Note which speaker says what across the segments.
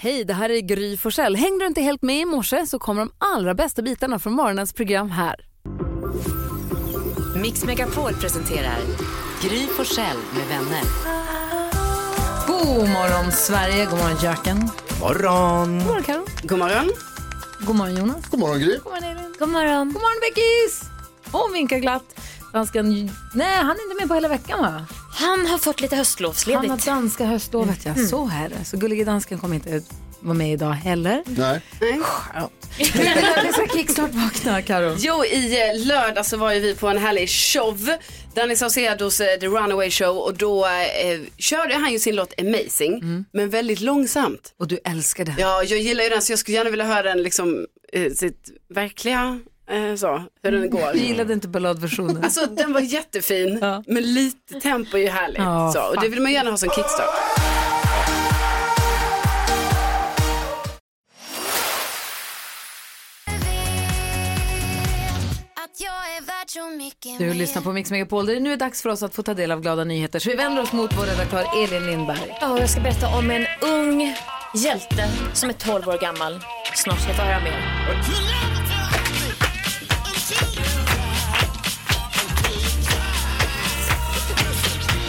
Speaker 1: Hej, det här är Gry Forssell. Hängde du inte helt med i morse så kommer de allra bästa bitarna från morgonens program här.
Speaker 2: Mix Megapol presenterar Gry Forssell med vänner.
Speaker 1: God morgon Sverige, god morgon Jöken.
Speaker 3: morgon!
Speaker 1: God morgon Karin.
Speaker 4: God morgon.
Speaker 1: God morgon Jonas.
Speaker 5: God morgon Gry.
Speaker 1: God morgon Elin. God morgon. God morgon Beckis. Hon vinkar glatt. Dansken, nej han är inte med på hela veckan va?
Speaker 6: Han har fått lite
Speaker 1: Han
Speaker 6: höstlovsledigt.
Speaker 1: har danska höstlovet ja, så här är det. Så gullige dansken kommer inte vara med idag heller.
Speaker 5: Nej.
Speaker 1: Vi ska kickstart vakna Karo.
Speaker 4: Jo, i eh, lördag så var ju vi på en härlig show. Danny Saucedos eh, The Runaway Show och då eh, körde han ju sin låt Amazing, men väldigt långsamt.
Speaker 1: Och du älskar det.
Speaker 4: Ja, jag gillar ju den så jag skulle gärna vilja höra den liksom eh, sitt verkliga, eh, så, hur den går.
Speaker 1: Du gillade inte balladversionen.
Speaker 4: Alltså den var jättefin,
Speaker 1: Mm. Ja.
Speaker 4: men lite tempo är ju härligt.
Speaker 1: Ja,
Speaker 4: så, och det vill man gärna ha som kickstart.
Speaker 1: Du lyssnar på Mix Megapol där det nu är dags för oss att få ta del av glada nyheter. Så vi vänder oss mot vår redaktör Elin Lindberg.
Speaker 6: Ja, jag ska berätta om en ung hjälte som är 12 år gammal. Snart ska jag få höra mer.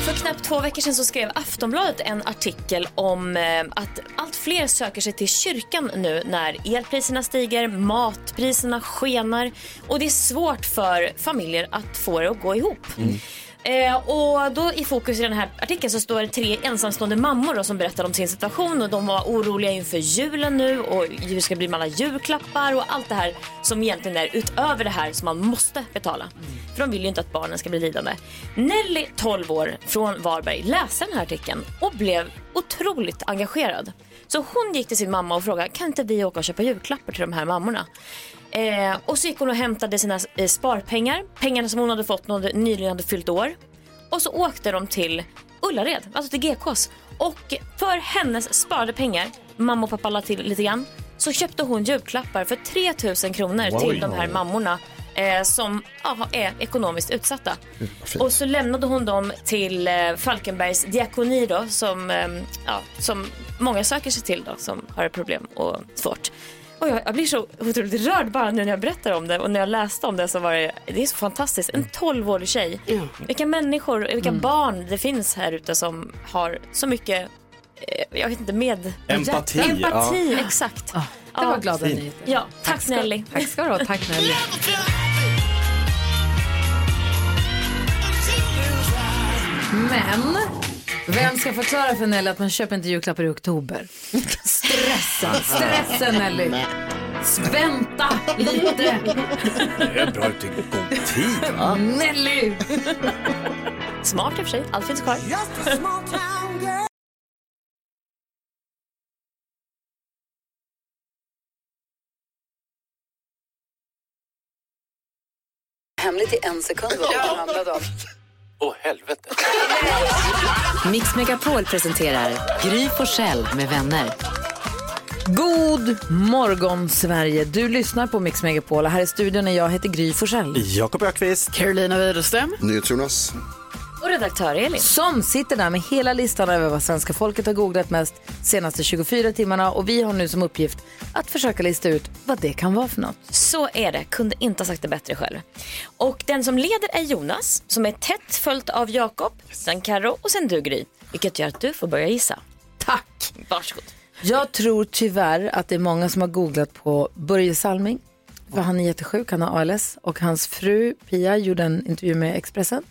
Speaker 6: För knappt två veckor sedan så skrev Aftonbladet en artikel om eh, att allt fler söker sig till kyrkan nu när elpriserna stiger, matpriserna skenar och det är svårt för familjer att få det att gå ihop. Eh, och då i fokus i den här artikeln så står det tre ensamstående mammor då, som berättar om sin situation och de var oroliga inför julen nu och hur ska det bli med alla julklappar och allt det här som egentligen är utöver det här som man måste betala. För de vill ju inte att barnen ska bli lidande. Nelly, 12 år, från Varberg läste den här artikeln och blev otroligt engagerad. Så hon gick till sin mamma och frågade kan inte vi åka och köpa julklappar till de här mammorna? Eh, och så gick hon och hämtade sina eh, sparpengar, pengarna som hon hade fått när hon hade- nyligen hade fyllt år. Och så åkte de till Ullared, alltså till GKs. Och för hennes sparade pengar, mamma och pappa la till lite grann, så köpte hon julklappar för 3 000 kronor till de här mammorna eh, som ja, är ekonomiskt utsatta. Och så lämnade hon dem till eh, Falkenbergs diakoni då, som, eh, ja, som många söker sig till då, som har problem och svårt. Och jag, jag blir så otroligt rörd bara nu när jag berättar om det och när jag läste om det så var det, det är så fantastiskt. En 12-årig tjej. Vilka människor, vilka barn det finns här ute som har så mycket, eh, jag vet inte, med...
Speaker 3: Empati,
Speaker 6: Empati, exakt.
Speaker 1: Det var glada nyheter.
Speaker 6: Ja, tack Nelly.
Speaker 1: Tack ska du ha. Tack Nelly. Men vem ska förklara för Nelly att man köper inte julklappar i oktober? Stressen. Stressen Nelly. Vänta lite.
Speaker 3: Det är bra ute i god tid. va?
Speaker 1: Nelly.
Speaker 6: Smart i och för sig, allt finns kvar.
Speaker 2: Hemligt i en sekund vad det handlade om.
Speaker 7: Åh, helvete.
Speaker 2: Mix Megapol presenterar Gry Forssell med vänner.
Speaker 1: God morgon Sverige. Du lyssnar på Mix Megapol. Här i studion är jag heter Gry Forssell.
Speaker 3: Jakob Ökvist.
Speaker 4: Carolina Widerström.
Speaker 5: NyhetsJonas.
Speaker 6: Och redaktör Elin.
Speaker 1: som sitter där med hela listan över vad svenska folket har googlat mest senaste 24 timmarna och vi har nu som uppgift att försöka lista ut vad det kan vara för något.
Speaker 6: Så är det, kunde inte ha sagt det bättre själv. Och den som leder är Jonas, som är tätt följt av Jakob, sen Karo och sen du Gry. Vilket gör att du får börja gissa.
Speaker 1: Tack!
Speaker 6: Varsågod.
Speaker 1: Jag tror tyvärr att det är många som har googlat på Börje Salming, för han är jättesjuk, han har ALS och hans fru Pia gjorde en intervju med Expressen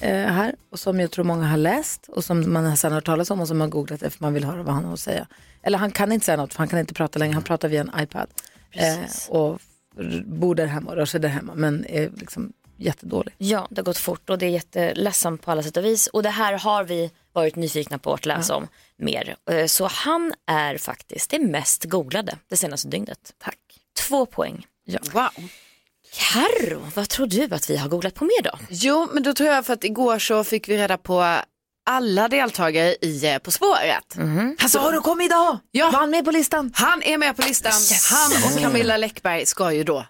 Speaker 1: eh, här och som jag tror många har läst och som man sedan har hört talas om och som har googlat efter man vill höra vad han har att säga. Eller han kan inte säga något för han kan inte prata längre, han pratar via en iPad eh, och r- bor där hemma och rör sig där hemma men är liksom jättedålig.
Speaker 6: Ja, det har gått fort och det är jätteledsamt på alla sätt och vis. Och det här har vi varit nyfikna på att läsa om mer. Eh, Så han är faktiskt det mest googlade det senaste dygnet.
Speaker 1: Tack.
Speaker 6: Två poäng.
Speaker 4: Wow.
Speaker 6: Karo, vad tror du att vi har googlat på mer då?
Speaker 4: Jo, men då tror jag för att igår så fick vi reda på alla deltagare i eh, På spåret.
Speaker 1: Alltså har du kommit idag?
Speaker 4: Mhm. Ja.
Speaker 1: Var han med på listan?
Speaker 4: Han är med på listan. Han och Camilla Läckberg ska ju då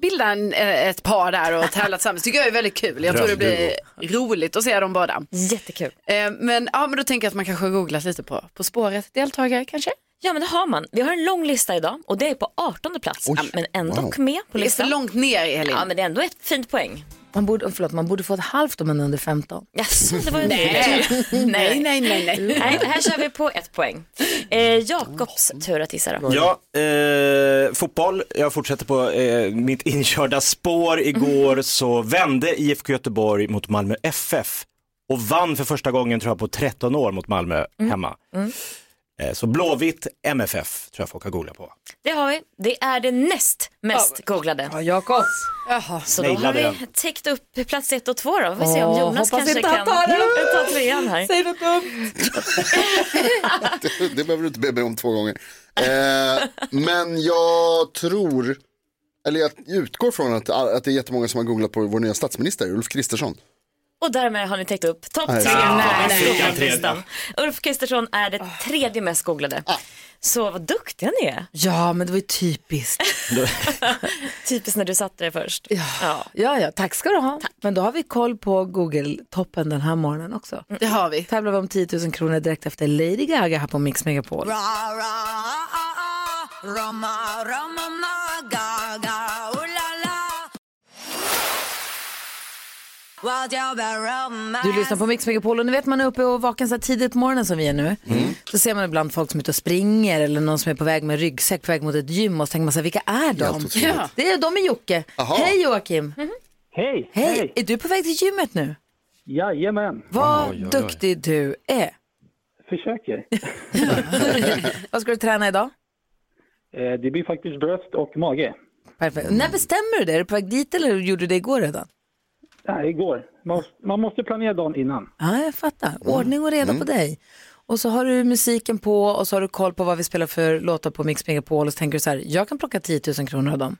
Speaker 4: bilda en, eh, ett par där och tävla tillsammans. tycker jag är väldigt kul. Jag tror det blir roligt att se dem båda.
Speaker 6: Jättekul.
Speaker 4: Eh, Men, ja, men då tänker jag att man kanske har googlat lite på På spåret deltagare kanske.
Speaker 6: Ja men det har man. Vi har en lång lista idag och det är på 18 plats.
Speaker 5: Oj.
Speaker 6: Ja, men ändå
Speaker 5: Wow.
Speaker 6: med på
Speaker 4: Det är för
Speaker 6: listan.
Speaker 4: långt ner Helena.
Speaker 6: Ja men det är ändå ett fint poäng.
Speaker 1: Man borde, förlåt, man borde få ett halvt om man är under 15.
Speaker 6: Jaså, det var ju nej. nej. nej.
Speaker 4: nej, nej, nej.
Speaker 6: Nej, här kör vi på ett poäng. Eh, Jakobs tur att gissa då.
Speaker 3: Ja, eh, fotboll. Jag fortsätter på eh, mitt inkörda spår. Igår så vände IFK Göteborg mot Malmö FF och vann för första gången tror jag på 13 år mot Malmö hemma. Eh, så Blåvitt MFF tror jag folk har googlat på.
Speaker 6: Det har vi. Det är det näst mest googlade.
Speaker 1: Ja, Jakob.
Speaker 6: Så då har
Speaker 3: nailade
Speaker 6: vi
Speaker 3: den.
Speaker 6: täckt upp plats ett och två då. Vi får se om
Speaker 1: Åh,
Speaker 6: Jonas
Speaker 1: hoppas
Speaker 6: kanske
Speaker 1: inte han
Speaker 6: kan
Speaker 1: tar den.
Speaker 6: ta trean här.
Speaker 1: Säg något dumt.
Speaker 5: Det behöver du inte be mig om två gånger. Eh, men jag tror, eller jag utgår från att, att det är jättemånga som har googlat på vår nya statsminister, Ulf Kristersson.
Speaker 6: Och därmed har ni täckt upp topp
Speaker 5: Nej.
Speaker 6: tre
Speaker 5: Ja,
Speaker 3: fick
Speaker 6: nära
Speaker 3: han tre.
Speaker 6: listan. Ulf Kristersson är det tredje mest googlade. Så vad duktiga ni är.
Speaker 1: Ja, men det var ju typiskt.
Speaker 6: Typiskt när du satte det först. Ja.
Speaker 1: Ja, ja, tack ska du ha. Men då har vi koll på Google-toppen den här morgonen också.
Speaker 4: Det har vi.
Speaker 1: Tävlar vi om 10 000 kronor direkt efter Lady Gaga här på Mix Megapol. Du lyssnar på Mix Megapol och ni vet man är uppe och vaken så här tidigt på morgonen som vi är nu. Så ser man ibland folk som är ute och springer eller någon som är på väg med ryggsäck på väg mot ett gym och så tänker man så här, vilka är
Speaker 5: Helt
Speaker 1: de?
Speaker 5: otroligt. Ja.
Speaker 1: Det är, de är Jocke.
Speaker 5: Aha.
Speaker 1: Hej Joakim!
Speaker 7: Hej!
Speaker 1: Mm-hmm. Hej. Är du på väg till gymmet nu?
Speaker 7: Jajamän,
Speaker 1: Vad duktig du är!
Speaker 7: försöker.
Speaker 1: Vad ska du träna idag?
Speaker 7: Eh, Det blir faktiskt bröst och mage.
Speaker 1: Perfekt. När bestämmer du det? Är du på väg dit eller gjorde du det igår redan?
Speaker 7: Nej, igår. Man måste- Man måste planera dagen innan.
Speaker 1: Ja, jag fattar. Ordning och reda
Speaker 3: Mm.
Speaker 1: på dig. Och så har du musiken på och så har du koll på vad vi spelar för låtar på Mix Megapol och så tänker du så här, jag kan plocka 10 000 kronor av dem.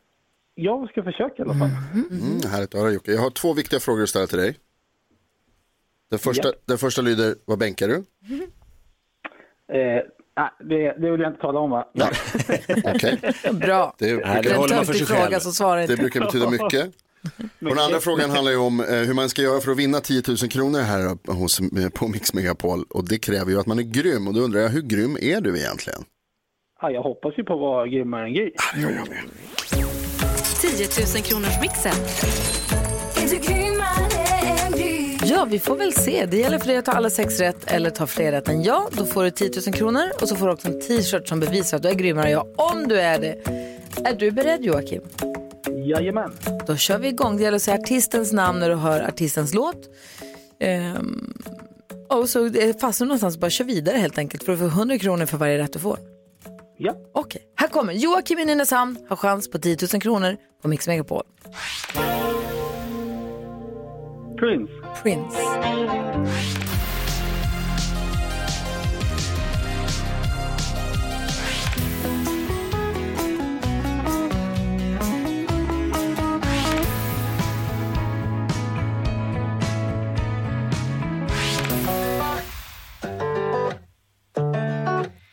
Speaker 7: Jag ska försöka i alla fall.
Speaker 5: Mm, härligt att höra Jocke. Jag har två viktiga frågor att ställa till dig. Den första, den första lyder, vad bänkar du?
Speaker 7: Eh, nej, det, det vill jag inte tala om va?
Speaker 5: Okej,
Speaker 1: Bra.
Speaker 5: det,
Speaker 3: Nej,
Speaker 5: brukar-
Speaker 3: det håller man för sig
Speaker 1: töntig fråga
Speaker 3: själv.
Speaker 1: så svara
Speaker 5: det
Speaker 1: inte.
Speaker 5: brukar betyda mycket. Och den andra frågan handlar ju om eh, hur man ska göra för att vinna 10 000 kronor här eh, hos, på Mix Megapol. Och det kräver ju att man är grym. Och då undrar jag, hur grym är du egentligen?
Speaker 7: Ja, jag hoppas ju på att vara grymmare än Gry.
Speaker 2: 10 000 kronors mixen.
Speaker 1: Ja, vi får väl se. Det gäller för dig att ta alla sex rätt eller ta fler rätt än jag. Då får du 10 000 kronor och så får du också en t-shirt som bevisar att du är grymmare än jag, om du är det. Är du beredd Joakim?
Speaker 7: Jajamän.
Speaker 1: Då kör vi igång. Det gäller att säga artistens namn när du hör artistens låt. Ehm, och så eh, fastnar du någonstans och bara kör vidare helt enkelt. För du får 100 kronor för varje rätt du får.
Speaker 7: Ja.
Speaker 1: Okej, här kommer Joakim i Nynäshamn. Har chans på 10 000 kronor på Mix Megapol.
Speaker 7: Prince.
Speaker 1: Prince.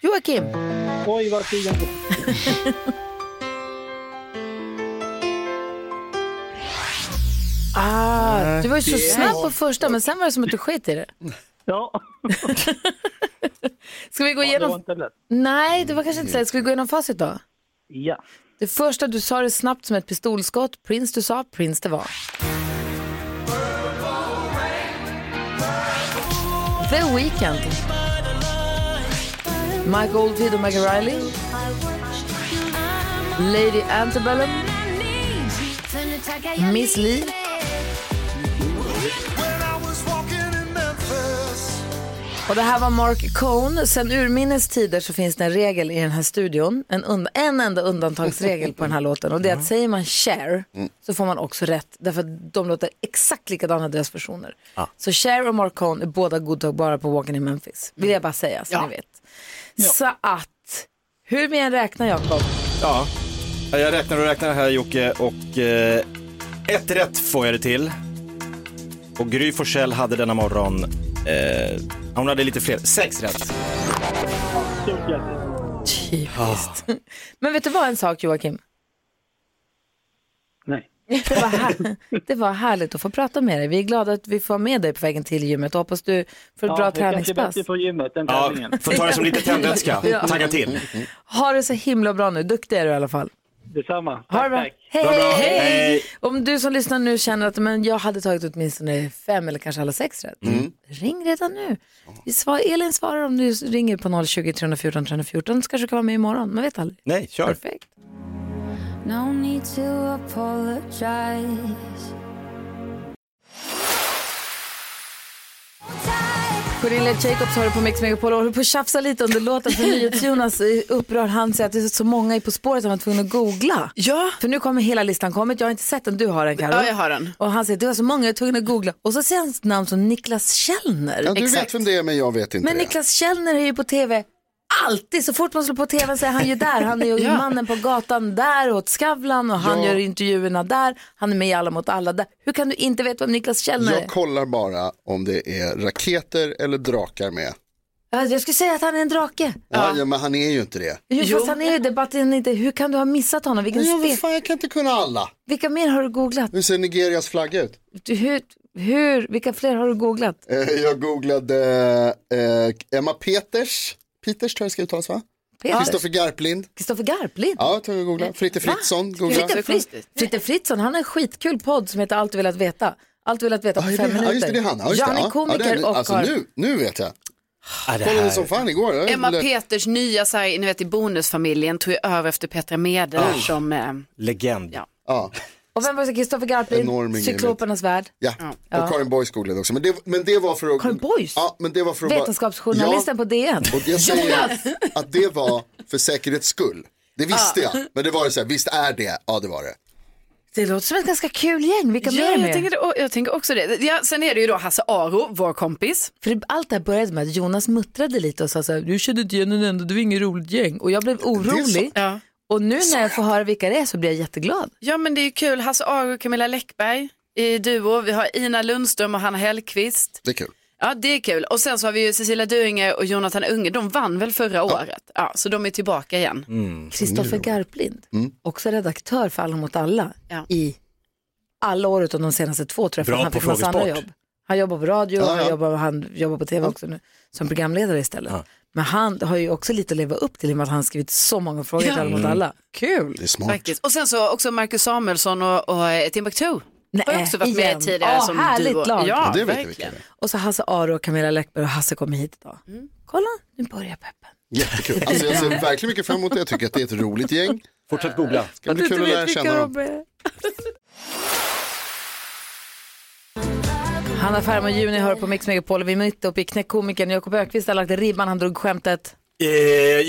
Speaker 1: Joakim,
Speaker 7: Oj, vad tiden går.
Speaker 1: ah, du var ju så snabb på första men sen var det som att du skit i det.
Speaker 7: Ja,
Speaker 1: Ska vi gå
Speaker 7: det var
Speaker 1: igenom?
Speaker 7: inte lätt.
Speaker 1: Nej, det var kanske inte så lätt. Ska vi gå igenom facit då?
Speaker 7: Ja.
Speaker 1: Det första du sa det snabbt som ett pistolskott. Prince du sa, Prince det var. The Weeknd. Mike Oldfield och Maggie Riley. Lady Antebellum. Miss Li. Och det här var Mark Cohn. Sen urminnes tider så finns det en regel i den här studion, en, und- en enda undantagsregel på den här låten. Och det är att säger man share så får man också rätt, därför att de låter exakt likadana deras versioner. Så share och Mark Cohn är båda godtagbara på Walking in Memphis, vill jag bara säga så ni vet. Så att, hur vi än räknar Jakob,
Speaker 3: Ja, jag räknar och räknar här Jocke och eh, ett rätt får jag det till. Och Gry Forssell hade denna morgon, eh, hon hade lite fler, sex rätt.
Speaker 7: Stort grattis.
Speaker 1: typiskt. Men vet du vad en sak Joakim?
Speaker 7: Nej.
Speaker 1: Det var, här, det var härligt att få prata med dig. Vi är glada att vi får med dig på vägen till gymmet och hoppas du får ett bra
Speaker 7: det kanske är
Speaker 1: träningspass.
Speaker 7: bättre för gymmet än
Speaker 3: Ja,
Speaker 7: tävlingen.
Speaker 3: får ta det som lite tändvätska.
Speaker 1: Ja. Mm.
Speaker 3: Tagga till.
Speaker 1: Ha det så himla bra nu. Duktig är du i alla fall.
Speaker 7: Detsamma.
Speaker 1: Ha det
Speaker 7: Tack,
Speaker 1: bra.
Speaker 7: tack.
Speaker 1: Hej,
Speaker 3: Bra, bra.
Speaker 1: hej!
Speaker 3: Hej.
Speaker 1: Om du som lyssnar nu känner att men jag hade tagit åtminstone fem eller kanske alla sex rätt, ring redan nu. Vi svar, Elin svarar om du ringer på 020 314 314 så kanske du kan vara med imorgon. Man vet aldrig.
Speaker 3: Nej, kör.
Speaker 1: Perfekt. Cornelia Jacobs har du på Mix Megapol och håller på att tjafsa lite under låten för NyhetsJonas eh, upprör han sig att det är så många i På spåret han var tvungen att googla.
Speaker 4: Ja.
Speaker 1: För nu kommer hela listan kommit, jag har inte sett den, du har den Karo.
Speaker 4: Ja, jag har den.
Speaker 1: Och han säger det var så många jag var tvungen att googla och så säger han ett namn som Niklas Källner.
Speaker 5: Ja, du vet vem det är men jag vet inte
Speaker 1: Men
Speaker 5: det.
Speaker 1: Niklas Källner är ju på tv alltid. Så fort man slår på tvn så är han ju där. Han är ju
Speaker 4: Ja.
Speaker 1: mannen på gatan där och åt Skavlan och han gör intervjuerna där. Han är med i Alla mot alla där. Hur kan du inte veta vem Niklas Källner
Speaker 5: Jag
Speaker 1: är?
Speaker 5: kollar bara om det är raketer eller drakar med.
Speaker 1: Jag, jag skulle säga att han är en drake.
Speaker 5: Ja. Ja, men han är ju inte det.
Speaker 1: Jo,
Speaker 4: Jo.
Speaker 1: Fast han är ju debatten inte. Hur kan du ha missat honom? Vilken
Speaker 5: Jag,
Speaker 1: ste-
Speaker 5: vet fan, jag kan inte kunna alla.
Speaker 1: Vilka mer har du googlat?
Speaker 5: Hur ser Nigerias flagga ut?
Speaker 1: Du- Hur, hur, vilka fler har du googlat?
Speaker 5: Eh, Jag googlade eh, Emma Peters. Peters tror jag ska uttalas va?
Speaker 1: Peter.
Speaker 5: Kristoffer Garplind.
Speaker 1: Kristoffer Garplind.
Speaker 5: Ja, jag tror jag googlade. Fritte Fritzson googlade.
Speaker 1: Fritte, Fritz,
Speaker 4: konstigt.
Speaker 1: Fritte Fritzson, han har en skitkul podd som heter Allt du velat veta. Allt du velat veta på
Speaker 5: Ja, är
Speaker 1: fem
Speaker 5: det-
Speaker 1: minuter.
Speaker 5: ja, just det, det är han. Ja, just
Speaker 1: Ja,
Speaker 5: det.
Speaker 1: han är
Speaker 5: Ja,
Speaker 1: komiker
Speaker 5: ja, det,
Speaker 1: och
Speaker 5: alltså,
Speaker 1: har...
Speaker 5: nu, nu vet jag.
Speaker 3: Ja, det
Speaker 5: Kollade
Speaker 3: här-
Speaker 5: som fan igår. Jag
Speaker 4: Emma
Speaker 5: ville-
Speaker 4: Peters nya, så här, ni vet i Bonusfamiljen, tog ju över efter Petra Mede där som, eh,
Speaker 3: Legend.
Speaker 4: Ja.
Speaker 5: ja,
Speaker 1: Och vem var det? Kristoffer
Speaker 5: Enorm
Speaker 1: Garplind,
Speaker 5: grej,
Speaker 1: Cyklopernas värld.
Speaker 5: ja. och Karin Boys googlade också. Men det, men det var för att...
Speaker 1: Karin Boys?
Speaker 5: Ja, men det var för att... bara-
Speaker 1: Vetenskapsjournalisten
Speaker 5: Ja,
Speaker 1: på DN.
Speaker 5: Och jag säger att det var för säkerhets skull. Det visste jag. Men det var ju så här, visst är det? Ja, det var det.
Speaker 1: Det låter som ett ganska kul gäng. Vilka mer
Speaker 4: ja,
Speaker 1: är
Speaker 4: jag,
Speaker 1: med?
Speaker 4: tänker, det- jag tänker också det. Ja, sen är det ju då Hasse Aro, vår kompis.
Speaker 1: För det- allt det här började med att Jonas muttrade lite och sa så här, du kände inte igen en enda, du är inget roligt gäng. Och jag blev orolig.
Speaker 4: Ja.
Speaker 1: Och nu när jag får höra vilka det är så blir jag
Speaker 3: Mm,
Speaker 1: jätteglad.
Speaker 4: Ja men det är ju kul, Hasse Aro och Camilla Läckberg i duo. Vi har Ina Lundström och Hanna Hellqvist.
Speaker 5: Det är kul.
Speaker 4: Ja det är kul. Och sen så har vi ju Cecilia Duinger och Jonathan Unge. De vann väl förra året? Ja, så de är tillbaka igen.
Speaker 1: Kristoffer Garplind,
Speaker 3: Mm.
Speaker 1: också redaktör för Alla mot alla
Speaker 4: Ja.
Speaker 1: i alla år utom de senaste två tror jag,
Speaker 3: Bra
Speaker 1: för han
Speaker 3: på
Speaker 1: fick massa andra
Speaker 3: frågesport.
Speaker 1: jobb. Han jobbar på radio,
Speaker 5: Ja,
Speaker 1: Han,
Speaker 5: ja.
Speaker 1: jobbar, han jobbar på tv också nu, som programledare istället.
Speaker 3: Ja.
Speaker 1: Men han har ju också lite att leva upp till i och med att han har skrivit så många frågor till Alla
Speaker 3: Mm.
Speaker 1: mot alla. Kul!
Speaker 5: Det är smart.
Speaker 4: Faktiskt. Och sen så också Marcus Samuelsson och, och eh, Timbuktu. har ju också varit
Speaker 1: Eh, igen.
Speaker 4: med tidigare
Speaker 1: Ja,
Speaker 4: som
Speaker 1: härligt
Speaker 4: duo.
Speaker 1: lag.
Speaker 4: Ja,
Speaker 5: Ja, det vet jag vilka
Speaker 4: verkligen.
Speaker 5: det är.
Speaker 1: Och så Hasse Aro och Camilla Läckberg och Hasse kommer hit idag.
Speaker 4: Mm.
Speaker 1: Kolla, nu börjar peppen.
Speaker 5: Jättekul. Alltså, jag ser verkligen mycket fram emot det. Jag tycker att det är ett roligt gäng.
Speaker 3: Fortsätt googla.
Speaker 5: Kan bli kul att lära känna dem.
Speaker 1: Hanna Ferm och Juni hör på Mix Megapol och vi är mitt uppe i knäckkomikern Jakob Ökvist har lagt ribban, han drog skämtet.
Speaker 3: Eh,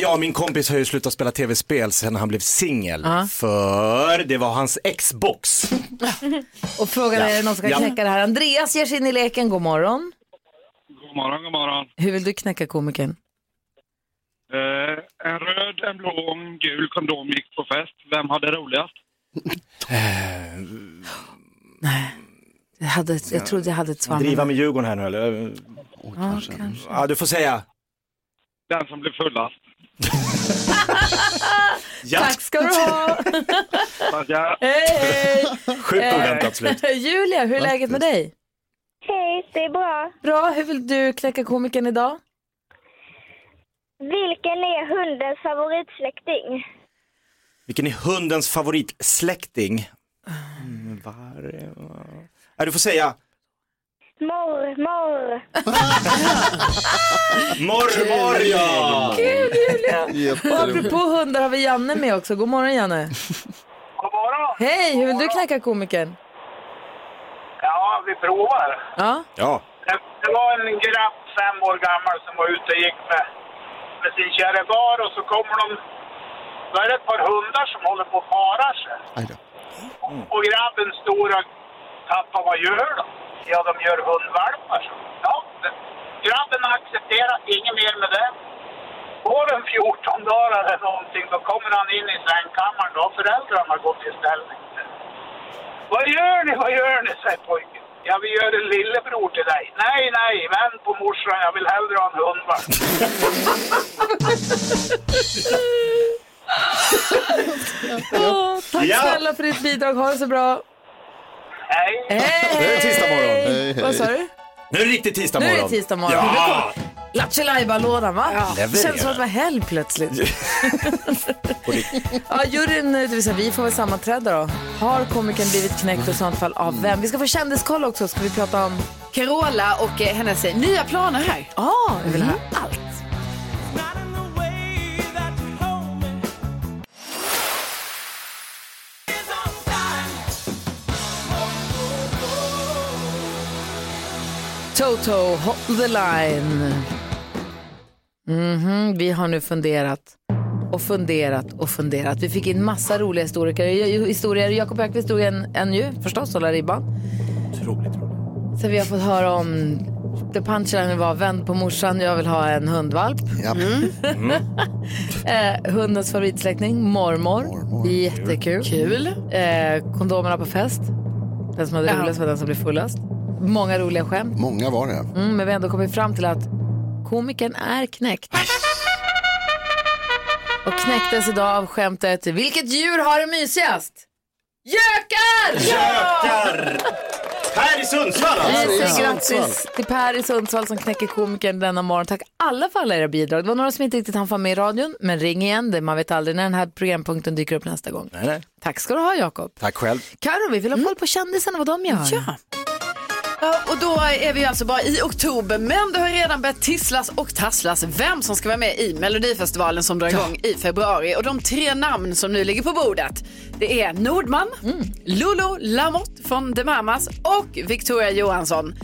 Speaker 3: ja, min kompis har ju slutat spela tv-spel sen han blev singel. För det var hans Xbox.
Speaker 1: Och frågan är, är det någon som kan
Speaker 3: Ja.
Speaker 1: knäcka det här? Andreas ger sig in i leken, god morgon.
Speaker 8: God morgon, god morgon.
Speaker 1: Hur vill du knäcka komikern?
Speaker 8: Eh, en röd, en blå och en gul kondom gick på fest. Vem hade roligast?
Speaker 1: Jag, hade, jag trodde jag hade ett svar.
Speaker 3: Driva
Speaker 1: men-
Speaker 3: med Djurgården här nu eller?
Speaker 1: Ja, kanske.
Speaker 3: Ja, du får säga.
Speaker 8: Den som blev fullast.
Speaker 3: Ja,
Speaker 1: Tack ska du ha!
Speaker 8: Så jag,
Speaker 1: Hej,
Speaker 3: sjukt
Speaker 1: Eh.
Speaker 3: oväntat slut.
Speaker 1: hej! Julia, hur är läget med dig?
Speaker 9: Hej, det är bra.
Speaker 1: Bra, hur vill du knäcka komikern idag?
Speaker 9: Vilken är hundens favoritsläkting?
Speaker 3: Vilken är hundens favoritsläkting? Mm, var... Ja, du får säga.
Speaker 9: Morr, morr.
Speaker 3: Mormor ja!
Speaker 1: Och
Speaker 5: Jätteroligt.
Speaker 1: apropå hundar har vi Janne med också. God morgon Janne.
Speaker 8: god morgon!
Speaker 1: Hej, hur vill du knäcka komikern?
Speaker 8: Ja, vi provar.
Speaker 1: Ja,
Speaker 3: Ja,
Speaker 8: Det, det var en grabb, fem år gammal, som var ute och gick med, med sin kära bar och så kommer de... Då är det ett par hundar som håller på och parar sig.
Speaker 5: Aj då.
Speaker 8: Och grabben stora pappa, vad gör de? Ja, de gör hundvalpar. så. Ja, det- grabben accepterar inget mer med det. Går en 14 dagar eller någonting, då kommer han in i sängkammaren. Då har föräldrarna gått i ställning. Vad gör ni, vad gör ni, säger pojken. Ja, vi gör en lillebror till dig. Nej, nej, vänd på morsan, jag vill hellre ha en hundvalp.
Speaker 1: Åh, tack
Speaker 3: Ja.
Speaker 1: snälla för ditt bidrag. Ha det så bra.
Speaker 8: Hej!
Speaker 1: Hej!
Speaker 3: är tisdag morgon.
Speaker 5: Hej, hej.
Speaker 1: Vad sa du?
Speaker 3: Nu är det riktigt tisdag
Speaker 1: Nu
Speaker 3: morgon.
Speaker 1: är det tisdag morgon.
Speaker 3: Ja!
Speaker 1: Lattjo lådan va? Det
Speaker 3: Levererar.
Speaker 1: känns som att det var helg plötsligt. ja, juryn, eh, det vill säga vi får väl sammanträda då. Har komikern blivit knäckt och i sånt fall av vem? Vi ska få kändiskoll också, ska vi prata om...
Speaker 4: Carola och eh, hennes eh, nya planer här.
Speaker 1: Ja, ah, vi vill höra allt. Toto, hold the line. Mhm, vi har nu funderat och funderat och funderat. Vi fick in massa roliga historiker. historier. Jakob Ökvist drog en, en ju förstås, hålla ribban.
Speaker 3: Otroligt roligt.
Speaker 1: Så vi har fått höra om, the punchline var vänd på morsan, jag vill ha en hundvalp.
Speaker 5: Ja.
Speaker 4: Mm.
Speaker 1: Eh, hundens favoritsläkting, mormor. Jättekul. Kul. Eh, kondomerna på fest. Den som hade roligast var den som blev fullast. Många roliga skämt.
Speaker 5: Många var det.
Speaker 1: Mm, men vi har ändå kommit fram till att komikern är knäckt. Och knäcktes idag av skämtet Vilket djur har det mysigast? Gökar!
Speaker 3: Gökar! Här i Sundsvall alltså!
Speaker 1: Vi
Speaker 5: i
Speaker 1: säger grattis
Speaker 5: Sundsvall.
Speaker 1: till Per i Sundsvall som knäcker komikern denna morgon. Tack alla för alla era bidrag. Det var några som inte riktigt hann få med i radion, men ring igen. Det- Man vet aldrig när den här programpunkten dyker upp nästa gång.
Speaker 3: Nej, nej.
Speaker 1: Tack ska du ha, Jakob.
Speaker 3: Tack själv.
Speaker 1: Karo, vi vill ha koll på kändisarna, vad de gör.
Speaker 4: Ja. Ja, och då är vi ju alltså bara i oktober, men det har redan börjat tisslas och tasslas vem som ska vara med i Melodifestivalen som drar igång i februari. Och de tre namn som nu ligger på bordet, det är Nordman, Lulu Lamotte från The Mamas och Victoria Johansson.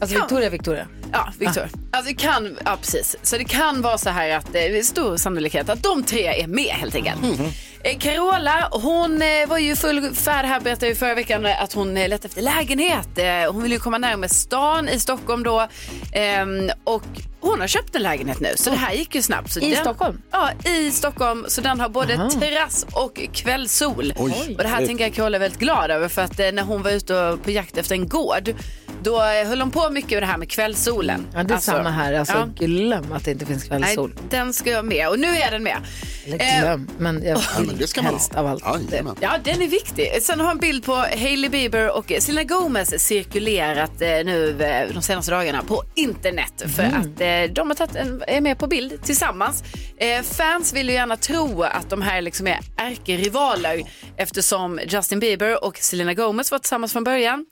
Speaker 1: Alltså
Speaker 4: Ja.
Speaker 1: Victoria, Victoria.
Speaker 4: Ja, Victoria. Alltså det kan, ja precis. Så det kan vara så här att det är stor sannolikhet att de tre är med helt enkelt.
Speaker 1: Mhm.
Speaker 4: Eh, Carola, hon eh, var ju i full färd här, berättade ju förra veckan eh, att hon eh, letade efter lägenhet. Eh, Hon ville ju komma närmare stan i Stockholm då. Ehm, Och hon har köpt en lägenhet nu, så det här gick ju snabbt. Så
Speaker 1: I
Speaker 4: den,
Speaker 1: Stockholm?
Speaker 4: Ja, i Stockholm. Så den har både terrass och kvällssol. Och det här tänker jag Carola är väldigt glad över för att eh, när hon var ute och på jakt efter en gård då eh, höll hon på mycket med det här med kvällssolen.
Speaker 1: Ja, det är
Speaker 4: Alltså,
Speaker 1: samma här. Alltså,
Speaker 4: ja.
Speaker 1: Glöm att det inte finns
Speaker 4: Nej,
Speaker 1: kvällssol.
Speaker 4: den ska jag med och nu är den med.
Speaker 1: Eller
Speaker 4: Eh,
Speaker 1: glöm, men jag
Speaker 5: Ja,
Speaker 4: Mm.
Speaker 5: men det ska man
Speaker 1: helst
Speaker 5: ha.
Speaker 1: av allt.
Speaker 5: Jajamän.
Speaker 4: Ja, den är viktig. Sen har en bild på Hailey Bieber och Selena Gomez cirkulerat eh, nu eh, de senaste dagarna på internet för
Speaker 1: Mm.
Speaker 4: att eh, de har tagit en, är med på bild tillsammans. Eh, fans vill ju gärna tro att de här liksom är ärkerivaler eftersom Justin Bieber och Selena Gomez var tillsammans från början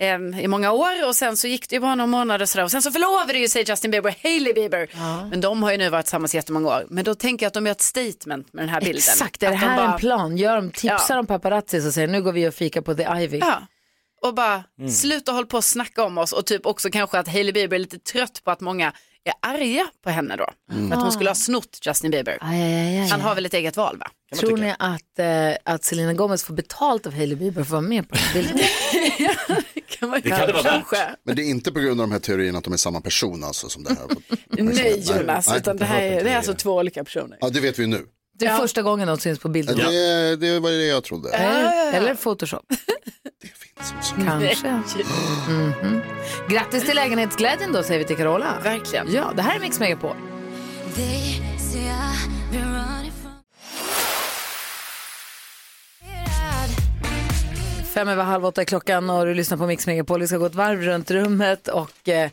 Speaker 4: eh, i många år och sen så gick det ju bara några månader och sådär och sen så förlovade ju sig Justin Bieber och Hailey Bieber. Men de har ju nu varit tillsammans i jättemånga år. Men då tänker jag att de gör ett statement med den här bilden.
Speaker 1: Exakt, är det
Speaker 4: Att de
Speaker 1: här
Speaker 4: bara-
Speaker 1: en plan? Gör de, tipsar
Speaker 4: Ja.
Speaker 1: de paparazzi och säger nu går vi och fika på The Ivy.
Speaker 4: Ja. Och bara sluta håll på och snacka om oss och typ också kanske att Hailey Bieber är lite trött på att många är arga på henne då. För att hon skulle ha snott Justin Bieber.
Speaker 1: Aj, aj, aj,
Speaker 4: Han
Speaker 1: aj.
Speaker 4: har väl ett eget val va?
Speaker 1: Tror ni att, eh, att Selena Gomez får betalt av Hailey Bieber för att vara med på den bilden?
Speaker 4: Kan man
Speaker 3: Det kan det vara värt.
Speaker 4: kanske.
Speaker 5: Men det är inte på grund av de här teorierna att de är samma person alltså som det här.
Speaker 4: Nej Jonas,
Speaker 5: nej,
Speaker 4: utan det
Speaker 5: jag
Speaker 4: här
Speaker 5: hörde
Speaker 4: är,
Speaker 5: inte
Speaker 4: det är alltså två olika personer.
Speaker 5: Ja, det vet vi nu.
Speaker 1: Det är första gången de syns på bilden.
Speaker 5: Det, det var det jag trodde.
Speaker 1: Eller, eller Photoshop,
Speaker 5: Det finns också.
Speaker 1: kanske. Mhm. Grattis till lägenhetsglädjen då, säger vi till Carola.
Speaker 4: Verkligen.
Speaker 1: Ja, det här är Mix Megapol. Fem över halv åtta är klockan och du lyssnar på Mix Megapol. Vi ska gå ett varv runt rummet och eh,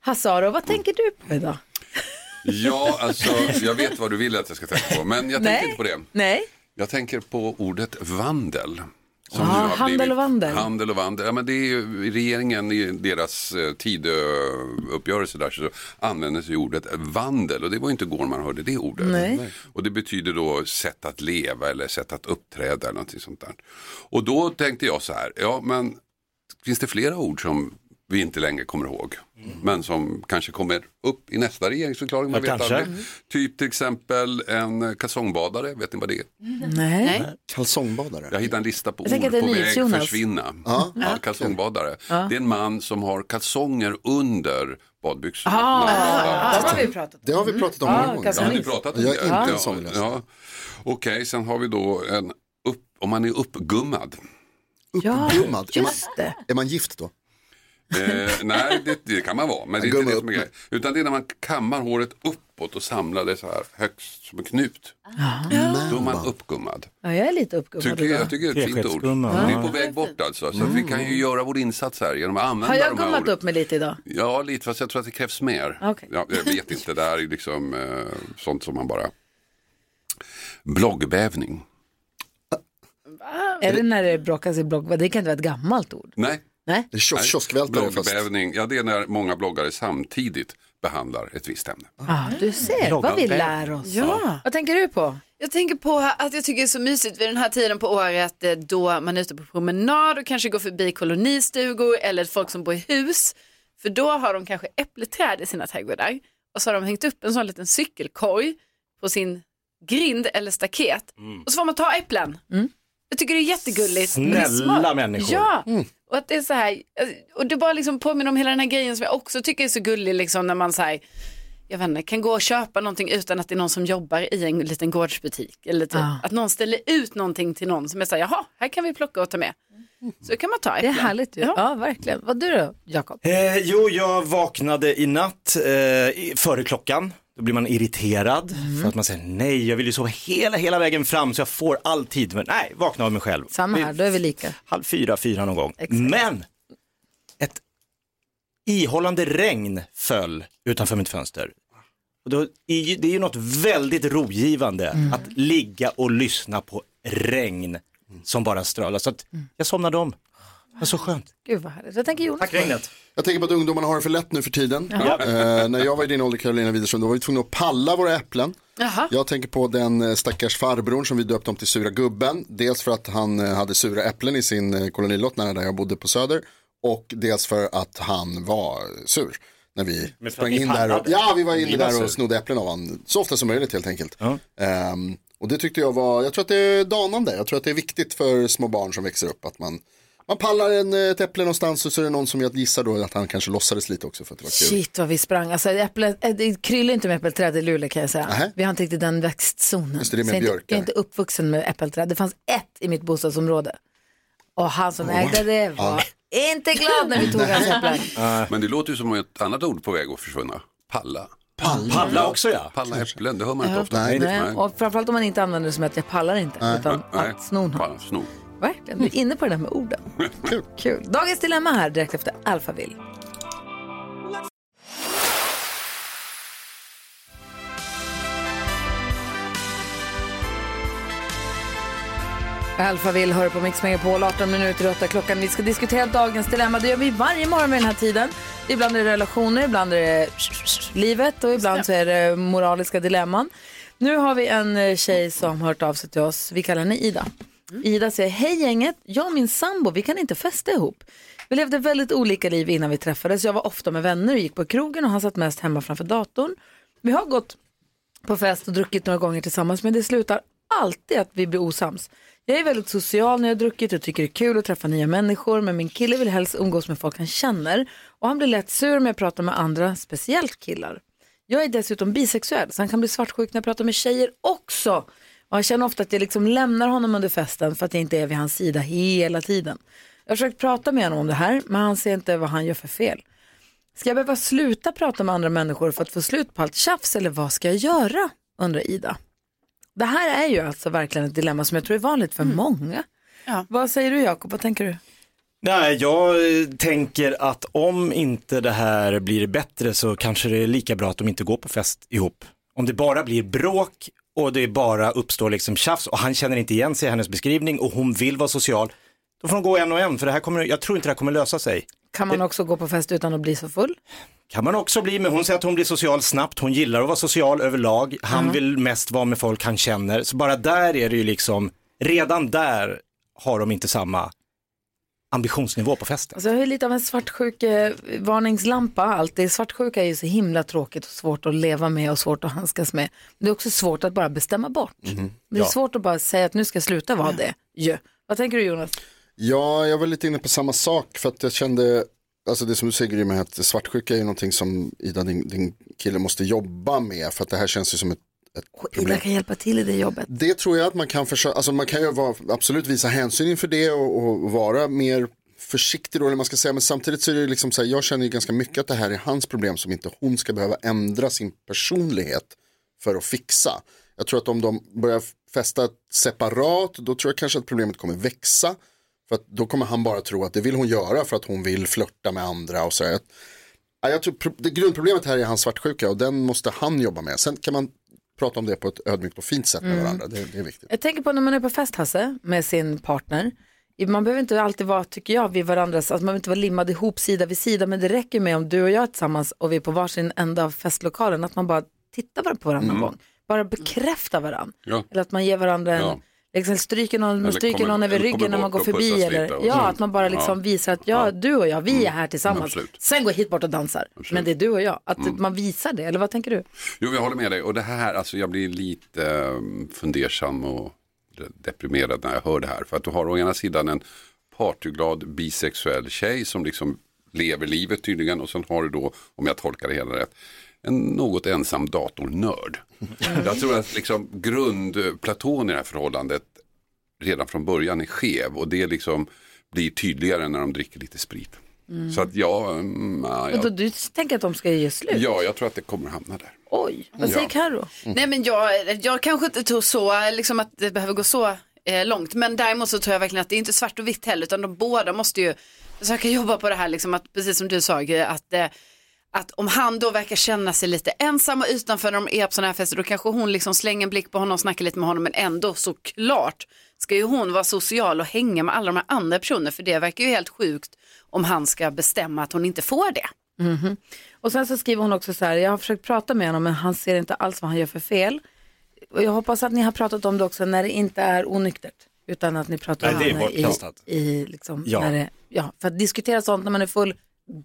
Speaker 1: Hasse Aro, vad tänker du på idag?
Speaker 10: Ja, alltså jag vet vad du vill att jag ska tänka på, men jag tänker
Speaker 1: Nej.
Speaker 10: inte på det.
Speaker 1: Nej,
Speaker 10: Jag tänker på ordet vandel. Som
Speaker 1: Ah,
Speaker 10: nu har
Speaker 1: handel
Speaker 10: blivit-
Speaker 1: och vandel.
Speaker 10: Handel och vandel. Ja, men det är ju, regeringen i deras eh, tideuppgörelse där så användes ju ordet vandel och det var ju inte igår man hörde det ordet.
Speaker 1: Nej.
Speaker 10: Och det betyder då sätt att leva eller sätt att uppträda eller någonting sånt där. Och då tänkte jag så här, ja men finns det flera ord som vi inte längre kommer ihåg, men som kanske kommer upp i nästa regeringsförklaring. Man
Speaker 3: Ja,
Speaker 10: vet
Speaker 3: kanske.
Speaker 10: aldrig. Typ till exempel en kalsongbadare, vet ni vad det är?
Speaker 1: nej.
Speaker 4: Nej.
Speaker 5: Kalsongbadare.
Speaker 10: Jag hittade en lista på
Speaker 1: Jag tänker
Speaker 10: ord
Speaker 1: att det är
Speaker 10: på väg
Speaker 1: NyhetsJonas.
Speaker 10: försvinna.
Speaker 5: Ja.
Speaker 10: Ja, kalsongbadare. Det är en man som har kalsonger under badbyxorna. Ah,
Speaker 1: Ja, det har vi pratat om.
Speaker 5: Det har vi pratat
Speaker 1: Ah,
Speaker 5: om många gånger.
Speaker 1: kalsongs.
Speaker 10: Ja, ni pratat om
Speaker 5: Jag är
Speaker 10: det.
Speaker 5: inte
Speaker 10: Ja.
Speaker 5: en sån läsare.
Speaker 10: ja. Okej, sen har vi då en upp, om man är uppgummad.
Speaker 1: Ja,
Speaker 5: Uppgummad. Är man-
Speaker 1: just det.
Speaker 5: Är man gift då?
Speaker 10: Eh, nej, det, det kan man vara, men det är
Speaker 5: Gumma
Speaker 10: inte det
Speaker 5: upp.
Speaker 10: som är grejen. Utan det är när man kammar håret upp uppåt och samlade så här högst som en knut.
Speaker 5: Ah.
Speaker 10: Då är man
Speaker 5: Mm.
Speaker 10: uppgummad.
Speaker 1: Ja, jag är lite uppgummad
Speaker 10: Tycker,
Speaker 1: idag.
Speaker 10: jag tycker det är ett fint ord.
Speaker 3: Teskedsgumman,
Speaker 10: Vi är
Speaker 3: ja.
Speaker 10: på väg bort alltså. Så att vi kan ju göra vår insats här genom att använda
Speaker 1: Har jag
Speaker 10: de här
Speaker 1: gummat
Speaker 10: orden.
Speaker 1: upp mig lite idag?
Speaker 10: Ja, lite fast jag tror att det krävs mer.
Speaker 1: Okej.
Speaker 10: Ja, jag vet inte, det här är ju liksom eh, sånt som man bara... Bloggbävning.
Speaker 1: Är det när det bråkas i blogg? Det kan inte vara ett gammalt ord.
Speaker 10: Nej,
Speaker 1: Nej?
Speaker 5: Det är kios- kioskvältare fast.
Speaker 10: bloggbävning, ja det är när många bloggare samtidigt behandlar ett visst ämne.
Speaker 1: Ah, du ser vad vi lär oss.
Speaker 4: Ja.
Speaker 1: Vad tänker du på?
Speaker 4: Jag tänker på att jag tycker det är så mysigt vid den här tiden på året eh, då man är ute på promenad och kanske går förbi kolonistugor eller folk som bor i hus. För då har de kanske äppelträd i sina trädgårdar och så har de hängt upp en sån liten cykelkorg på sin grind eller staket
Speaker 3: Mm.
Speaker 4: och så får man ta äpplen. Jag tycker det är jättegulligt. men det är
Speaker 3: Snälla
Speaker 4: smart.
Speaker 3: människor.
Speaker 4: Ja, och att det är så här, eh, och det bara liksom påminner om hela den här grejen som jag också tycker är så gullig liksom när man så här, jag vet inte, kan gå och köpa någonting utan att det är någon som jobbar i en liten gårdsbutik. Eller typ.
Speaker 1: Ah.
Speaker 4: Att någon ställer ut någonting till någon som är så här, jaha, här kan vi plocka och ta med. Så kan man ta
Speaker 1: Mm. Det är
Speaker 4: äpplen.
Speaker 1: härligt ju. Ja, verkligen. Vad du då, Jakob?
Speaker 3: Eh, jo, jag vaknade i natt eh, i- före klockan. Då blir man irriterad för att man säger nej, jag vill ju sova hela, hela vägen fram så jag får all tid. Men nej, vakna av mig själv.
Speaker 1: Samma här, då är vi lika.
Speaker 3: Halv fyra, fyra någon gång. Men ett ihållande regn föll utanför mitt fönster. Och då, är ju- det är ju något väldigt rogivande att ligga och lyssna på regn som bara strölar. Så att jag somnade om. Men så skönt.
Speaker 1: Gud vad härligt. Vad
Speaker 5: Mm,
Speaker 1: tänker Jonas?
Speaker 3: Tack regnet.
Speaker 5: Jag tänker på att ungdomarna har det för lätt nu för tiden. Eh, när jag var i din ålder Carolina Widerström, då var vi tvungna att palla våra äpplen.
Speaker 4: Jaha.
Speaker 5: Jag tänker på den eh, stackars farbrorn som vi döpte om till sura gubben. Dels för att han eh, hade sura äpplen i sin eh, kolonilott nära där jag bodde på Söder. Och dels för att han var sur. När vi
Speaker 3: att
Speaker 5: sprang
Speaker 3: ni
Speaker 5: in där och,
Speaker 3: pallade.
Speaker 5: ja, vi var inne
Speaker 3: Ni var
Speaker 5: där
Speaker 3: sur.
Speaker 5: och snodde äpplen av honom. Så ofta som möjligt helt enkelt.
Speaker 3: Ja.
Speaker 5: Ehm, och det tyckte jag var, jag tror att det är danande. Jag tror att det är viktigt för små barn som växer upp att man man pallar en, eh, ett äpple någonstans och så är det någon som jag gissar då att han kanske låtsades lite också för att det var kul.
Speaker 1: Shit vad vi sprang. Alltså, äpple, äh, det kryllar inte med äppelträd i Luleå kan jag säga.
Speaker 5: Nähä.
Speaker 1: Vi har inte riktigt den växtzonen.
Speaker 5: Just det, det är med
Speaker 1: Så jag, är inte,
Speaker 5: björkar.
Speaker 1: jag är inte uppvuxen med äppelträd. Det fanns ett i mitt bostadsområde. Och han som ägde det var inte glad när vi tog hans äpplen.
Speaker 10: Men det låter ju som ett annat ord på väg att försvinna. Palla.
Speaker 3: Palla också ja.
Speaker 10: Palla äpplen, det hör man inte ofta.
Speaker 5: Nej.
Speaker 1: Nej, och framförallt om man inte använder det som att jag pallar inte. Utan att sno honom.
Speaker 10: Palla, snor.
Speaker 1: Verkligen, du är inne på det där med orden.
Speaker 5: Kul.
Speaker 1: Kul. Dagens Dilemma här direkt efter Alphaville. Alphaville hör på Mix Megapol, 18 minuter i åtta klockan. Vi ska diskutera dagens dilemma. Det gör vi varje morgon vid den här tiden. Ibland är det relationer, ibland är det livet och ibland så är det moraliska dilemman. Nu har vi en eh, tjej som har hört av sig till oss. Vi kallar henne Ida. Ida säger, hej gänget, jag och min sambo, vi kan inte festa ihop. Vi levde väldigt olika liv innan vi träffades. Jag var ofta med vänner och gick på krogen och han satt mest hemma framför datorn. Vi har gått på fest och druckit några gånger tillsammans men det slutar alltid att vi blir osams. Jag är väldigt social när jag har druckit och tycker det är kul att träffa nya människor men min kille vill helst umgås med folk han känner och han blir lätt sur om jag pratar med andra, speciellt killar. Jag är dessutom bisexuell så han kan bli svartsjuk när jag pratar med tjejer också. Och han känner ofta att jag liksom lämnar honom under festen för att jag inte är vid hans sida hela tiden. Jag har försökt prata med honom om det här men han ser inte vad han gör för fel. Ska jag behöva sluta prata med andra människor för att få slut på allt tjafs eller vad ska jag göra? undrar Ida. Det här är ju alltså verkligen ett dilemma som jag tror är vanligt för många.
Speaker 4: Ja.
Speaker 1: Vad säger du Jakob, vad tänker du?
Speaker 3: Nej, jag eh, tänker att om inte det här blir bättre så kanske det är lika bra att de inte går på fest ihop. Om det bara blir bråk och det bara uppstår liksom tjafs och han känner inte igen sig i hennes beskrivning och hon vill vara social, då får de gå en och en för det här kommer, jag tror inte det här kommer lösa sig.
Speaker 1: Kan man också gå på fest utan att bli så full?
Speaker 3: Kan man också bli, men hon säger att hon blir social snabbt, hon gillar att vara social överlag, han vill mest vara med folk han känner, så bara där är det ju liksom, redan där har de inte samma ambitionsnivå på festen.
Speaker 1: Alltså jag har ju lite av en eh, svartsjuke-varningslampa alltid. Svartsjuka är ju så himla tråkigt och svårt att leva med och svårt att handskas med. Men det är också svårt att bara bestämma bort. Det är
Speaker 3: Ja.
Speaker 1: svårt att bara säga att nu ska jag sluta vara det. Ja. Vad tänker du Jonas?
Speaker 5: Ja, jag var lite inne på samma sak för att jag kände, alltså det som du säger Grymme, att svartsjuka är ju någonting som Ida, din, din kille måste jobba med för att det här känns ju som ett, ett
Speaker 1: Och Ida
Speaker 5: problem.
Speaker 1: kan hjälpa till i det jobbet.
Speaker 5: Det tror jag att man kan försöka, alltså man kan ju vara, absolut visa hänsyn inför det och, och vara mer försiktig då, eller man ska säga, men samtidigt så är det liksom så här, jag känner ju ganska mycket att det här är hans problem som inte hon ska behöva ändra sin personlighet för att fixa. Jag tror att om de börjar festa separat, då tror jag kanske att problemet kommer växa. För att då kommer han bara tro att det vill hon göra för att hon vill flörta med andra och så. Jag, ja, jag tror pro- det grundproblemet här är hans svartsjuka och den måste han jobba med. Sen kan man prata om det på ett ödmjukt och fint sätt med
Speaker 1: Mm.
Speaker 5: varandra. Det, det är viktigt.
Speaker 1: Jag tänker på när man är på fest, Hasse, med sin partner. Man behöver inte alltid vara, tycker jag, vid varandras, alltså man behöver inte vara limmad ihop sida vid sida, men det räcker med om du och jag är tillsammans och vi är på varsin ända av festlokalen, att man bara tittar var- på varandra någon
Speaker 10: Mm.
Speaker 1: gång. Bara bekräftar varandra.
Speaker 10: Ja.
Speaker 1: Eller att man ger varandra en,
Speaker 10: Ja.
Speaker 1: liksom stryker någon,
Speaker 10: Eller
Speaker 1: stryker
Speaker 10: kommer-
Speaker 1: någon över
Speaker 10: eller kommer
Speaker 1: ryggen när man
Speaker 10: bort
Speaker 1: går
Speaker 10: och pussas
Speaker 1: förbi.
Speaker 10: lite
Speaker 1: Eller,
Speaker 10: och-
Speaker 1: ja,
Speaker 10: Mm.
Speaker 1: att man bara liksom
Speaker 10: Ja. Mm.
Speaker 1: visar att ja, du och jag, vi är här tillsammans.
Speaker 10: Absolut. Mm.
Speaker 1: Sen går hit bort och dansar. Men det är du och jag. Att man visar det, eller vad tänker du?
Speaker 10: Jo, jag håller med dig. Och det här, alltså jag blir lite eh, fundersam och deprimerad när jag hör det här. För att du har å ena sidan en partyglad bisexuell tjej som liksom lever livet tydligen. Och sen har du då, om jag tolkar det hela rätt, en något ensam datornörd.
Speaker 1: Mm.
Speaker 10: Jag tror att liksom grundplatån i det här förhållandet redan från början är skev. Och det liksom blir tydligare när de dricker lite sprit.
Speaker 1: Mm.
Speaker 10: Så att jag, mm, ja,
Speaker 1: Och då,
Speaker 10: jag,
Speaker 1: du tänker att de ska ge slut?
Speaker 10: ja, jag tror att det kommer hamna där.
Speaker 1: Oj, vad säger
Speaker 10: Ja.
Speaker 1: Karo?
Speaker 4: Nej men jag, jag kanske inte tror så, liksom att det behöver gå så eh, långt. Men däremot så tror jag verkligen att det är inte svart och vitt heller, utan de båda måste ju försöka jobba på det här, liksom att, precis som du sa, Gry, att, eh, att om han då verkar känna sig lite ensam och utanför när de är på sådana här fester, då kanske hon liksom slänger en blick på honom och snackar lite med honom, men ändå såklart ska ju hon vara social och hänga med alla de här andra personerna, för det verkar ju helt sjukt om han ska bestämma att hon inte får det.
Speaker 1: Mhm. Och sen så skriver hon också så här, jag har försökt prata med honom men han ser inte alls vad han gör för fel. Och jag hoppas att ni har pratat om det också när det inte är onyktert. Utan att ni pratar
Speaker 3: Nej, det är
Speaker 1: om det
Speaker 3: bortkastat.
Speaker 1: i, i liksom,
Speaker 3: Ja.
Speaker 1: när det, ja, för att diskutera sånt när man är full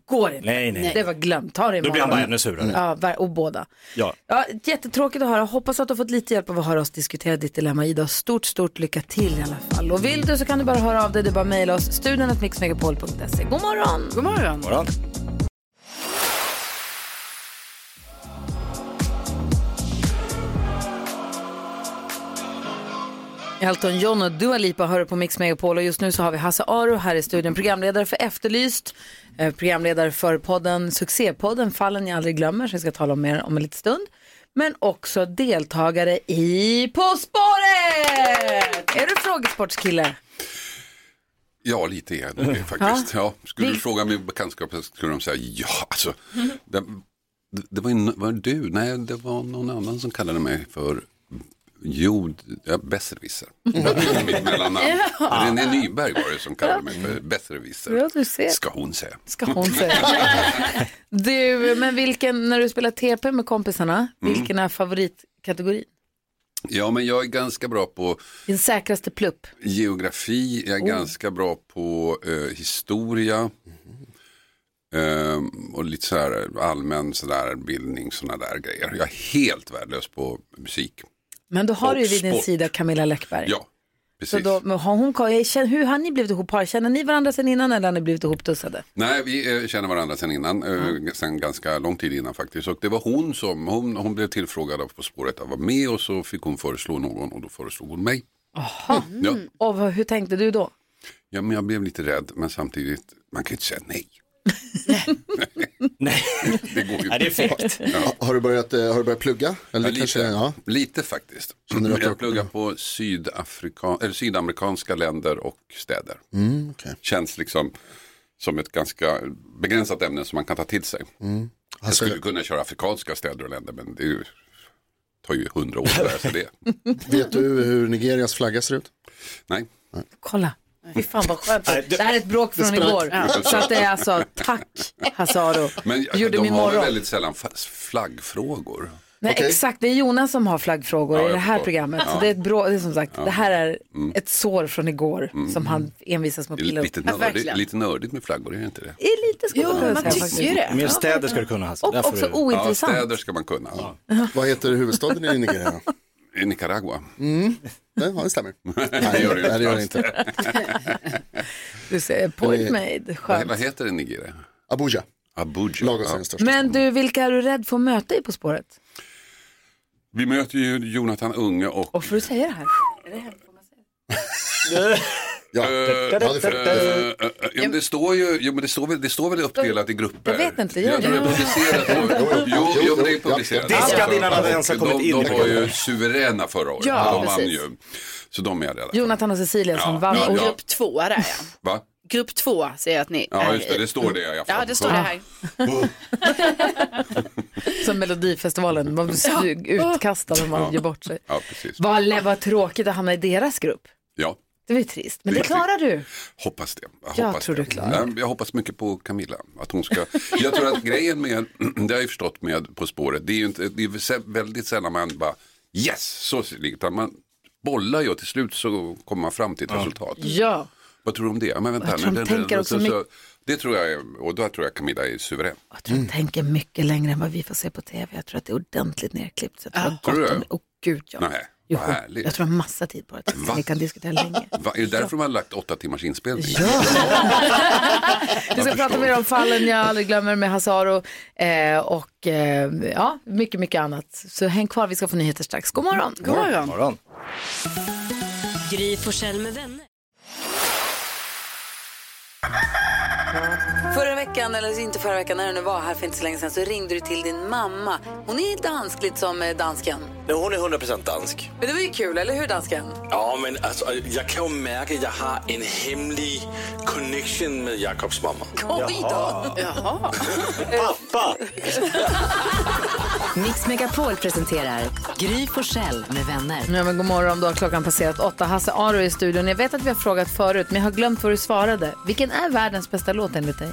Speaker 1: går inte.
Speaker 3: Nej, nej.
Speaker 1: Det var glömt, ta det
Speaker 3: Då
Speaker 1: imorgon.
Speaker 3: blir han bara ännu surare.
Speaker 1: Ja, ver- och båda.
Speaker 3: Ja.
Speaker 1: Ja, jättetråkigt att höra. Hoppas att du har fått lite hjälp av att höra oss diskutera ditt dilemma. Ida, stort, stort lycka till i alla fall. Och vill du så kan du bara höra av dig. Det är bara att mejla oss, studion att mixmegapol.se. God morgon!
Speaker 4: God morgon!
Speaker 3: morgon.
Speaker 1: Elton John och Dua Lipa hör på Mix Megapol och just nu så har vi Hasse Aro här i studion, programledare för Efterlyst, eh, programledare för podden Succépodden Fallen jag aldrig glömmer som vi ska tala om mer om en liten stund. Men också deltagare i På spåret! Är du frågesportskille?
Speaker 10: Ja, lite är det det faktiskt. Ja, skulle du fråga min bekantskap så skulle de säga ja. Alltså, det, det var, ju, var det du? Nej, det var någon annan som kallade mig för jord, ja, besserwisser. Mitt mellannamn.
Speaker 1: Ja.
Speaker 10: René Nyberg var det som kallade mig för besserwisser.
Speaker 1: Ja, du ser.
Speaker 10: Ska hon säga.
Speaker 1: Ska hon säga. Du, men vilken, när du spelar TP med kompisarna, vilken är favoritkategorin?
Speaker 10: Ja, men jag är ganska bra på
Speaker 1: Din säkraste plupp?
Speaker 10: Geografi, jag är
Speaker 1: Oh.
Speaker 10: ganska bra på eh, historia. Ehm, och lite så här allmän så där, bildning, sådana där grejer. Jag är helt värdelös på musik.
Speaker 1: Men då har
Speaker 10: Och
Speaker 1: du ju vid din
Speaker 10: sport.
Speaker 1: sida Camilla Läckberg.
Speaker 10: Ja,
Speaker 1: Så
Speaker 10: precis.
Speaker 1: då, men har hon, jag känner- hur har ni blivit ihop? Har- Känner ni varandra sedan innan eller har ni blivit ihoptussade?
Speaker 10: Nej, vi eh, känner varandra sedan innan, eh, sen ganska lång tid innan faktiskt. Och det var hon som, hon, hon blev tillfrågad av På spåret att vara med och så fick hon föreslå någon och då föreslog hon mig.
Speaker 1: Jaha.
Speaker 10: Ja.
Speaker 1: Och vad- hur tänkte du då?
Speaker 10: Ja, men jag blev lite rädd, men samtidigt, man kan ju inte säga nej. nej. det går ju inte.
Speaker 5: Nej, det är fegt. Ha- Har, du börjat, eh, har du börjat plugga? Eller
Speaker 10: Ja, lite.
Speaker 5: kanske, ja.
Speaker 10: Lite faktiskt.
Speaker 5: Känner du att du-
Speaker 10: jag pluggar på Sydafrika, eller sydamerikanska länder och städer.
Speaker 5: Mm, okej.
Speaker 10: Känns liksom som ett ganska begränsat ämne som man kan ta till sig.
Speaker 5: mm.
Speaker 10: Jag skulle kunna köra afrikanska städer och länder men det är ju, tar ju hundra år att lära sig det.
Speaker 5: Vet du hur Nigerias flagga ser ut?
Speaker 10: Nej.
Speaker 1: Kolla. Fy fan vad skönt. Det här är ett bråk
Speaker 5: det
Speaker 1: från
Speaker 5: sprack.
Speaker 1: igår.
Speaker 10: Ja.
Speaker 1: Så att det är alltså, tack Hasse Aro.
Speaker 10: Men
Speaker 1: Du gjorde
Speaker 10: de
Speaker 1: min
Speaker 10: har
Speaker 1: morgon.
Speaker 10: väl väldigt sällan fa- flaggfrågor.
Speaker 1: Nej,
Speaker 10: Okej.
Speaker 1: exakt. Det är Jonas som har flaggfrågor
Speaker 10: Ja,
Speaker 1: i
Speaker 10: jag
Speaker 1: det här
Speaker 10: förstår.
Speaker 1: programmet. Så
Speaker 10: Ja.
Speaker 1: det är ett bråk, det är som sagt,
Speaker 10: Ja.
Speaker 1: det här är
Speaker 10: Mm.
Speaker 1: ett sår från igår som han envisas med
Speaker 10: Det
Speaker 1: att
Speaker 10: är
Speaker 1: pilla upp.
Speaker 10: lite, nördigt, lite nördigt med flaggor, är det inte det?
Speaker 1: Det är lite skulle jag kunna säga faktiskt.
Speaker 3: Mer städer ska du kunna Hasse.
Speaker 1: Och
Speaker 3: Där får
Speaker 1: också
Speaker 3: du-
Speaker 1: ointressant.
Speaker 10: Ja, städer ska man kunna.
Speaker 5: Vad heter huvudstaden i Nigeria?
Speaker 10: I Nicaragua.
Speaker 5: Mm. Det, ja, det stämmer.
Speaker 10: det gör det
Speaker 5: Nej, det gör det
Speaker 10: inte.
Speaker 5: inte.
Speaker 1: Du ser, point made.
Speaker 10: Vad,
Speaker 1: Skönt.
Speaker 10: vad heter den i Nigeria?
Speaker 5: Abuja.
Speaker 10: Abuja.
Speaker 5: Lagos är
Speaker 10: ja.
Speaker 5: den största.
Speaker 1: Men du, vilka är du rädd för att möta i På spåret?
Speaker 10: Vi möter ju Jonathan Unge och
Speaker 1: Och får du säga det här?
Speaker 5: Ja.
Speaker 10: Eh,
Speaker 5: Ja, det får- det får-
Speaker 10: eh, eh, jo, men det står ju jo, men det står väl, det står väl uppdelat i grupper.
Speaker 1: Jag vet inte, gör
Speaker 10: Jag tror det är
Speaker 1: det?
Speaker 10: publicerat. Jo, jo, jo, men det är publicerat.
Speaker 3: Diskad innan den ens har
Speaker 10: Och
Speaker 3: kommit
Speaker 10: de,
Speaker 3: in.
Speaker 10: De var ju suveräna förra året.
Speaker 4: Ja,
Speaker 10: de vann
Speaker 4: precis.
Speaker 10: ju. Så de är jag redan.
Speaker 1: Jonathan och Cecilia som vann.
Speaker 10: ja,
Speaker 1: och
Speaker 10: ja.
Speaker 4: Grupp två där ja.
Speaker 10: Va?
Speaker 4: Grupp två ser jag att ni
Speaker 10: Ja,
Speaker 4: är
Speaker 10: just det.
Speaker 4: i.
Speaker 10: Det står det i alla fall.
Speaker 4: Ja, det står det här.
Speaker 1: Som Melodifestivalen, man blir utkastad om man
Speaker 10: Ja.
Speaker 1: gör bort sig.
Speaker 10: Ja, precis.
Speaker 1: Vad, lä- vad tråkigt att hamna i deras grupp.
Speaker 10: Ja,
Speaker 1: Det var ju trist, men det
Speaker 10: Det är
Speaker 1: klarar
Speaker 10: Mm.
Speaker 1: du.
Speaker 10: hoppas det. Jag,
Speaker 1: Jag
Speaker 10: hoppas
Speaker 1: tror
Speaker 10: det.
Speaker 1: du klarar
Speaker 10: Nej, Jag hoppas mycket på Camilla. Att hon ska... Jag tror att grejen med, det har jag ju förstått med På spåret, det är ju inte, det är väl sä- väldigt sällan man bara yes, så ser det ut. utan man bollar ju och till slut så kommer man fram till ett resultat.
Speaker 1: Ja.
Speaker 10: Vad tror du om det? Ja, Men vänta,
Speaker 1: Jag tror
Speaker 10: nu,
Speaker 1: de
Speaker 10: den-
Speaker 1: tänker
Speaker 10: den-
Speaker 1: också
Speaker 10: så- så- Det tror jag, är- och då tror jag Camilla är suverän.
Speaker 1: Jag tror de
Speaker 10: Mm.
Speaker 1: tänker mycket längre än vad vi får se på tv. Jag tror att det är ordentligt nerklippt. Så jag tror
Speaker 10: Tror du
Speaker 1: gott
Speaker 10: det?
Speaker 1: om... oh, gud, ja.
Speaker 10: Nej,
Speaker 1: Jo,
Speaker 10: vad härligt.
Speaker 1: jag tror de har massa tid på det.
Speaker 10: Va?
Speaker 1: Vi kan diskutera länge.
Speaker 10: Va, är det därför man har lagt åtta timmars inspelning?
Speaker 1: Vi ska
Speaker 10: Jag
Speaker 1: prata
Speaker 10: förstår.
Speaker 1: mer om fallen jag aldrig glömmer med Hasaro eh, och eh, ja, mycket, mycket annat. Så häng kvar, vi ska få nyheter strax. God morgon!
Speaker 4: God morgon.
Speaker 3: Morgon.
Speaker 2: Gry Forssell med vänner.
Speaker 1: Förra veckan, eller inte förra veckan, när du nu var här för inte så länge sedan så ringde du till din mamma. Hon är dansk, lite som eh, dansken.
Speaker 11: Nej, hon är 100% dansk.
Speaker 1: Men det var ju kul, eller hur dansken?
Speaker 11: Ja, men alltså, jag kan ju märka att jag har en hemlig connection med Jakobs mamma.
Speaker 1: Oj då!
Speaker 4: Jaha.
Speaker 3: Pappa!
Speaker 2: Mix Megapol presenterar Gry Forssell med vänner.
Speaker 1: Ja, men god morgon, då har klockan passerat åtta. Hasse Aro är i studion. Jag vet att vi har frågat förut, men jag har glömt vad du svarade. Vilken är världens bästa låt enligt dig?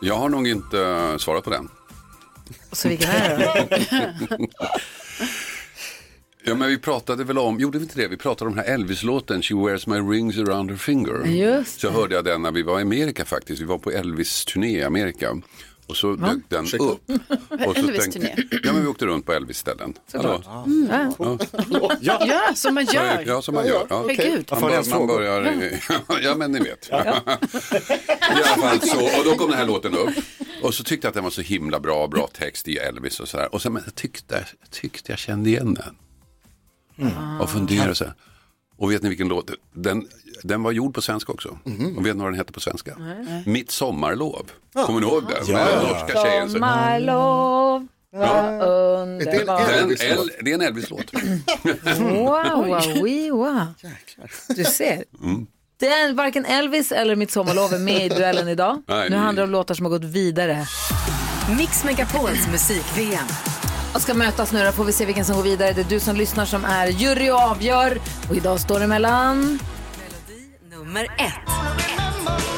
Speaker 10: Jag har nog inte eh, svarat på den.
Speaker 1: Så vilken är det då?
Speaker 10: Ja, men vi pratade väl om, gjorde vi inte det? Vi pratade om den här Elvis-låten, She wears my rings around her finger.
Speaker 1: Just
Speaker 10: så hörde jag den när vi var i Amerika faktiskt. Vi var på Elvis-turné i Amerika. Och så dök den upp. Och så
Speaker 4: Elvis-turné?
Speaker 10: ja, men vi åkte runt på Elvis-ställen. Hallå?
Speaker 4: Ja, som man gör.
Speaker 10: Ja, som man gör. Ja.
Speaker 4: Herregud.
Speaker 10: Man, bör, man börjar... ja, men ni vet. I alla fall så, och då kom den här låten upp. Och så tyckte jag att den var så himla bra, bra text i Elvis och sådär. Och sen men, jag tyckte jag tyckte jag kände igen den. Och funderade så här. Och vet ni vilken låt? Den, den var gjord på svenska också. Och vet ni vad den hette på svenska? Mitt sommarlov. Kommer ni ihåg den? Med den norska tjejen. Så,
Speaker 1: Sommarlov, Oh, vad underbart.
Speaker 10: den,
Speaker 5: Elvis-låt.
Speaker 10: El, det är en Elvis-låt.
Speaker 1: Wow, wow, wee, wow. Du ser.
Speaker 10: Mm.
Speaker 1: Det är varken Elvis eller Mitt sommarlov är med i duellen idag.
Speaker 10: Nej.
Speaker 1: Nu handlar det om låtar som har gått vidare.
Speaker 2: Mix Megapols musik-VM.
Speaker 1: Och ska mötas nu då får vi se vilken som går vidare. Det är du som lyssnar som är jury och avgör. Och idag står det mellan...
Speaker 2: Nummer ett.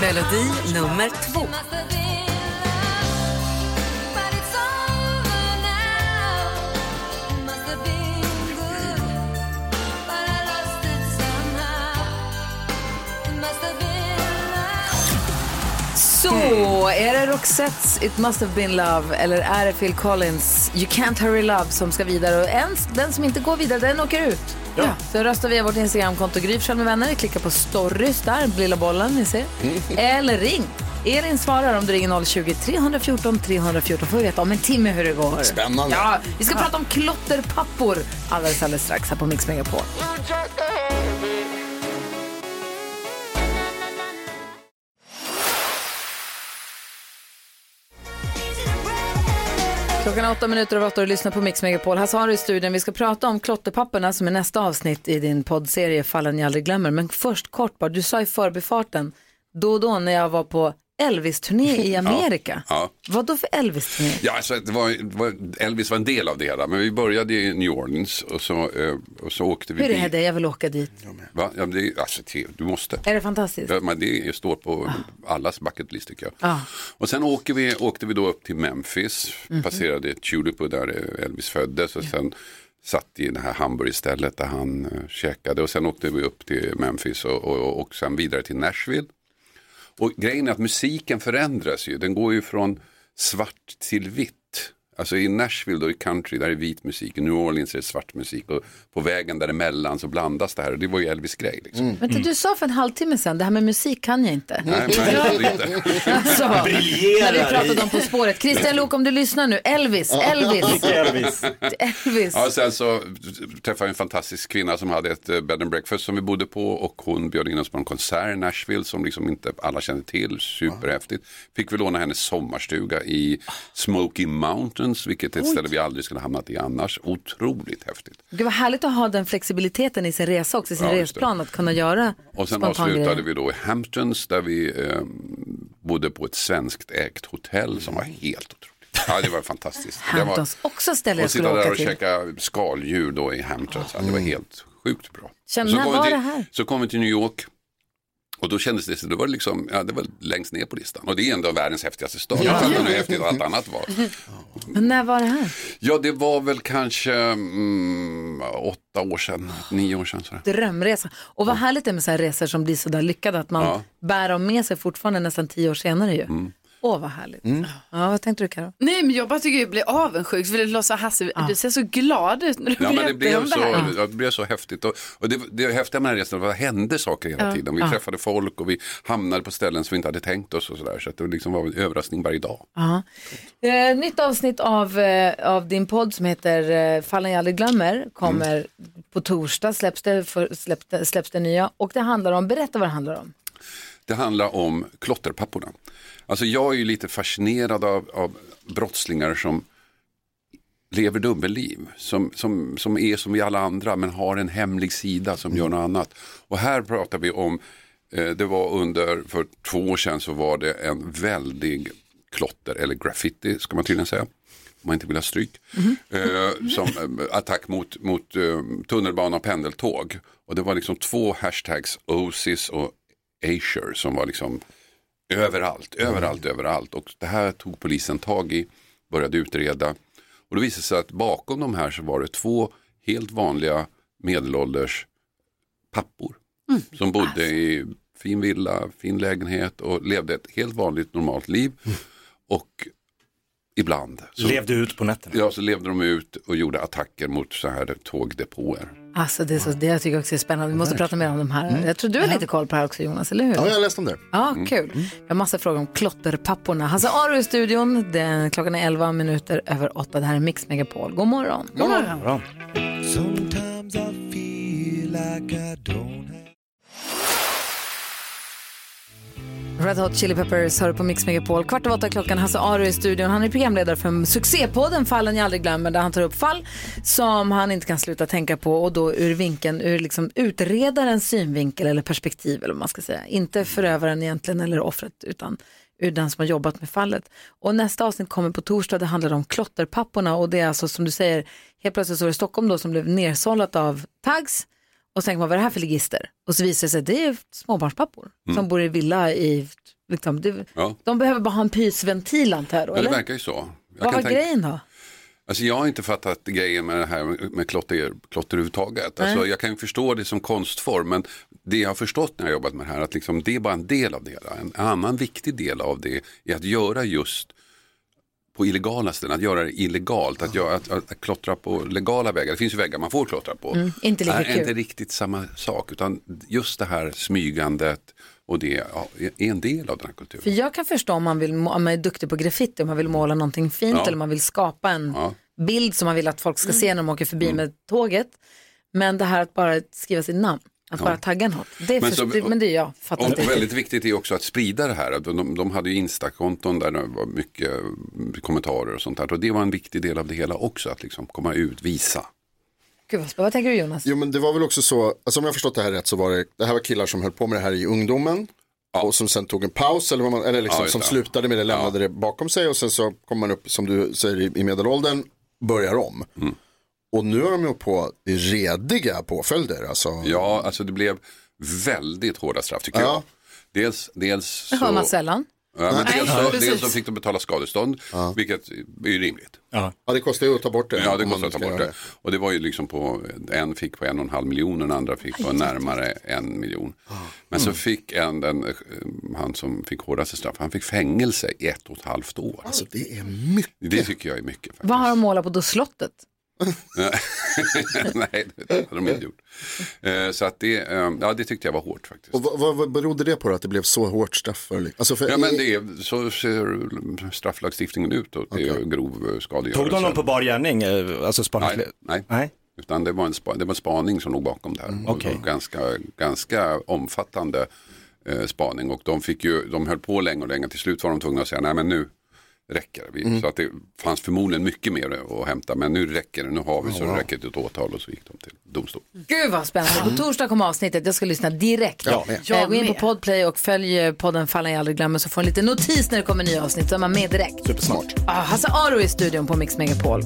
Speaker 2: Melodi nummer två.
Speaker 1: Så, är det Roxettes It must have been love eller är det Phil Collins You can't hurry love som ska vidare? Och en, den som inte går vidare, den åker ut. Ja. Så röstar via vårt Instagramkonto Gry Forssell med vänner. Klicka på stories där, lilla bollen ni ser. eller ring. Elin svarar om du ringer 020-314 314 får vi veta om en timme hur det går.
Speaker 5: Spännande.
Speaker 1: Ja, vi ska prata om klotterpappor alldeles, alldeles strax här på Mix Megapol. Klockan är åtta minuter över åtta och du lyssnar på Mix Megapol. Hasse Aro i studion. Vi ska prata om klotterpapperna som är nästa avsnitt i din poddserie Fallen jag aldrig glömmer. Men först kort bara, du sa i förbifarten då och då när jag var på Elvis-turné i Amerika.
Speaker 10: ja.
Speaker 1: Vad då för Elvis-turné?
Speaker 10: Ja, alltså, det var, det var, Elvis var en del av det hela, men vi började i New Orleans och så, eh, och så åkte vi
Speaker 1: Hur är
Speaker 10: bil-
Speaker 1: det? Jag vill åka dit.
Speaker 10: Va? Ja, men det, är- alltså, te- du måste.
Speaker 1: Är det fantastiskt?
Speaker 10: Ja, men det står på allas bucket list tycker jag.
Speaker 1: Ja.
Speaker 10: Och sen åker vi, åkte vi då upp till Memphis, passerade Tulip och där Elvis föddes och sen satt i det här hamburgerstället där han eh, käkade och sen åkte vi upp till Memphis och, och, och sen vidare till Nashville. Och grejen är att musiken förändras ju, den går ju från svart till vitt. Alltså i Nashville då i country, där är vit musik, i New Orleans är det svart musik och på vägen däremellan så blandas det här och det var ju Elvis grej. Liksom.
Speaker 1: Vänta, du sa för en halvtimme sedan, det här med musik kan jag inte.
Speaker 10: Nej, men inte.
Speaker 1: Alltså, när
Speaker 10: Briljerar
Speaker 1: vi pratade
Speaker 10: i-
Speaker 1: om På spåret. Christian Lok, om du lyssnar nu, Elvis, Elvis.
Speaker 10: Elvis.
Speaker 1: Elvis.
Speaker 10: Ja, sen så träffade jag en fantastisk kvinna som hade ett eh, bed and breakfast som vi bodde på och hon bjöd in oss på en konsert i Nashville som liksom inte alla kände till. Superhäftigt. Fick vi låna hennes sommarstuga i Smoky Mountains, vilket är ett
Speaker 1: Oj.
Speaker 10: ställe vi aldrig skulle hamnat i annars. Otroligt häftigt.
Speaker 1: Gud vad härligt att ha den flexibiliteten i sin resa också, i sin
Speaker 10: Ja, just det.
Speaker 1: resplan, att kunna göra
Speaker 10: Och sen
Speaker 1: spontan
Speaker 10: avslutade
Speaker 1: grejer.
Speaker 10: vi då i Hamptons där vi eh, bodde på ett svenskt ägt hotell som var helt otroligt. Ja, det var fantastiskt. Det var,
Speaker 1: Hamptons, också ställe jag
Speaker 10: och
Speaker 1: skulle
Speaker 10: sitta där
Speaker 1: åka
Speaker 10: och
Speaker 1: till. Mm.
Speaker 10: käka skaldjur då i Hamptons. Ja, det var helt sjukt bra.
Speaker 1: Känn,
Speaker 10: så
Speaker 1: när
Speaker 10: kom vi
Speaker 1: var
Speaker 10: till,
Speaker 1: det här?
Speaker 10: Så kom vi till New York. Och då kändes det, så då var det liksom, ja det var längst ner på listan. Och det är ändå världens häftigaste stad. Jag fattar nu hur häftigt allt annat var.
Speaker 1: Men när var det här?
Speaker 10: Ja, det var väl kanske mm, åtta år sedan, nio år sedan. Sådär.
Speaker 1: Drömresa. Och vad härligt det är med så här resor som blir så där lyckade, att man
Speaker 10: Ja.
Speaker 1: bär dem med sig fortfarande nästan tio år senare ju.
Speaker 10: Mm.
Speaker 1: Åh, vad härligt. Ja, vad tänkte du Karo?
Speaker 4: Nej, men jag bara tycker jag blir avundsjuk. För det låter så Hasse, du ser så glad ut när du
Speaker 10: Ja, men det
Speaker 4: berättar
Speaker 10: blev
Speaker 4: om
Speaker 10: så,
Speaker 4: det här.
Speaker 10: ja, det blev så häftigt. Och, och det, det häftiga med den här resan var att det hände saker hela
Speaker 4: Ja.
Speaker 10: tiden. Vi
Speaker 4: Ja.
Speaker 10: träffade folk och vi hamnade på ställen som vi inte hade tänkt oss och sådär. Så att det liksom var en överraskning varje dag.
Speaker 1: Ja. Eh, nytt avsnitt av, eh, av din podd som heter eh, Fallen jag aldrig glömmer kommer
Speaker 10: Mm.
Speaker 1: på torsdag, släpps det, för, släpps, det, släpps det nya. Och det handlar om, berätta vad det handlar om.
Speaker 10: Det handlar om klotterpapporna. Alltså jag är ju lite fascinerad av, av brottslingar som lever dubbelliv. Som, som, som är som vi alla andra men har en hemlig sida som gör något annat. Och här pratar vi om, eh, det var under, för två år sedan så var det en väldig klotter eller graffiti ska man tydligen säga. Om man inte vill ha stryk. Eh, som eh, attack mot, mot eh, tunnelbana och pendeltåg. Och det var liksom två hashtags, Osis och Asher som var liksom överallt, överallt, överallt. Och det här tog polisen tag i, började utreda. Och det visade sig att bakom de här så var det två helt vanliga medelålders pappor. Som bodde i fin villa, fin lägenhet och levde ett helt vanligt normalt liv. Och ibland.
Speaker 3: Levde ut på nätterna.
Speaker 10: Ja, så levde de ut och gjorde attacker mot så här tågdepåer.
Speaker 1: Alltså det, är så, det jag tycker jag också är spännande. Vi måste prata mer om de här. Jag tror du har lite koll på det här också Jonas, eller hur?
Speaker 5: Ja, jag har läst om det.
Speaker 1: Ja, kul. Jag har massa frågor om klotterpapporna. Hasse Aro i studion. Den, klockan är 11 minuter över 8. Det här är Mix Megapol. God morgon.
Speaker 12: God morgon.
Speaker 3: Bra.
Speaker 12: Sometimes I feel like I don't
Speaker 1: Red Hot Chili Peppers hör på Mix Megapol. Kvart över åtta är klockan. Hasse Aro i studion. Han är programledare för succépodden Fallen jag aldrig glömmer där han tar upp fall som han inte kan sluta tänka på och då ur vinkeln, ur liksom utredarens synvinkel eller perspektiv eller vad man ska säga. Inte förövaren egentligen eller offret utan ur den som har jobbat med fallet. Och nästa avsnitt kommer på torsdag, det handlar om klotterpapporna och det är alltså som du säger, helt plötsligt så var det Stockholm då som blev nersållat av tags och så tänker man, vad är det här för ligister? Och så visar det sig att det är småbarnspappor
Speaker 10: Mm.
Speaker 1: som bor i villa i, liksom, det,
Speaker 10: Ja.
Speaker 1: de behöver bara ha en pysventil antar jag då,
Speaker 10: Ja, det
Speaker 1: eller?
Speaker 10: verkar ju så. Jag
Speaker 1: vad
Speaker 10: kan
Speaker 1: var
Speaker 10: tänka-
Speaker 1: grejen då?
Speaker 10: Alltså jag har inte fattat grejen med det här med klotter, klotter överhuvudtaget.
Speaker 1: Nej.
Speaker 10: Alltså jag kan ju förstå det som konstform men det jag har förstått när jag har jobbat med det här att liksom det är bara en del av det hela. En annan viktig del av det är att göra just på illegala ställen, att göra det illegalt, att, göra, att, att, att klottra på legala vägar. Det finns ju vägar man får klottra på.
Speaker 1: Mm, inte lika
Speaker 10: Nej,
Speaker 1: kul.
Speaker 10: Inte riktigt samma sak utan just det här smygandet och det ja, är en del av den här kulturen.
Speaker 1: För jag kan förstå om man, vill, må- om man är duktig på graffiti, om man vill måla någonting fint
Speaker 10: Ja.
Speaker 1: eller man vill skapa en
Speaker 10: Ja. Mm.
Speaker 1: bild som man vill att folk ska se när de åker förbi med tåget. Men det här att bara skriva sitt namn, att
Speaker 10: Ja.
Speaker 1: bara tagga något, det,
Speaker 10: Men
Speaker 1: men,
Speaker 10: så-
Speaker 1: det, men det är jag, fattar
Speaker 10: Och
Speaker 1: inte riktigt.
Speaker 10: väldigt viktigt är också att sprida det här. De, de, de hade ju Insta-konton där det var mycket mm, kommentarer och sånt där. Och det var en viktig del av det hela också, att liksom komma ut, visa.
Speaker 1: Gud, vad, spännande. vad tänker du Jonas?
Speaker 5: Jo men det var väl också så, alltså om jag förstått det här rätt så var det, det här var killar som höll på med det här i ungdomen. Och som sen tog en paus eller, vad man, eller liksom,
Speaker 10: Ja, just
Speaker 5: som
Speaker 10: det.
Speaker 5: slutade med det, lämnade det bakom sig och sen så kom man upp som du säger i, i medelåldern, börjar om.
Speaker 10: Mm.
Speaker 5: Och nu har de ju på rediga påföljder. Alltså.
Speaker 10: Ja, alltså det blev väldigt hårda straff tycker jag. Dels, dels
Speaker 1: Det hör
Speaker 10: så...
Speaker 1: man sällan.
Speaker 10: Ja, men
Speaker 5: Nej,
Speaker 10: dels, så,
Speaker 5: precis.
Speaker 10: dels så fick de betala skadestånd, vilket är ju rimligt.
Speaker 3: Ja.
Speaker 5: det kostar ju att ta bort det.
Speaker 10: Ja, det
Speaker 3: Eh,
Speaker 5: om man
Speaker 10: kostar att ta
Speaker 5: ska
Speaker 10: bort
Speaker 5: göra
Speaker 10: det. Och det var ju liksom på, en fick på en och en halv miljon och den andra fick på närmare en miljon. Men så
Speaker 3: Mm.
Speaker 10: fick en, den, eh, han som fick hårdaste straff, han fick fängelse i ett och ett halvt år. Alltså
Speaker 5: det är mycket.
Speaker 10: Det tycker jag är mycket.
Speaker 1: Vad har de målat på då? Slottet?
Speaker 10: Nej, det hade de inte gjort. Eh, Så att det, eh, ja, det tyckte jag var hårt faktiskt.
Speaker 5: Och vad, vad, vad berodde det på då, att det blev så hårt straff för? liksom? Alltså för
Speaker 10: ja, men det är, så ser strafflagstiftningen ut och det är grov eh, skadegörelse.
Speaker 3: Tog de någon på bar gärning? eh, Alltså sparkade?
Speaker 10: Nej, nej. Utan det var, en spa, det var en spaning som låg bakom det här.
Speaker 1: Mm,
Speaker 10: Och
Speaker 3: okej.
Speaker 10: och ganska, ganska omfattande eh, spaning. Och de, fick ju, de höll på länge och länge. Till slut var de tvungna att säga, nej men nu räcker det. Vi,
Speaker 1: Mm.
Speaker 10: Så att det fanns förmodligen mycket mer att hämta. Men nu räcker det, nu har vi så det räcker till ett åtal. Och så gick de till domstol.
Speaker 1: Gud vad spännande. På torsdag kommer avsnittet. Jag ska lyssna direkt.
Speaker 10: Ja, med.
Speaker 1: Eh, Gå in på Podplay och följ eh, podden Fallen jag aldrig glömmer så får en liten notis när det kommer nya avsnitt. Då är man med direkt.
Speaker 3: Supersmart.
Speaker 1: Ah, Hasse Aro är i studion på Mix Megapol.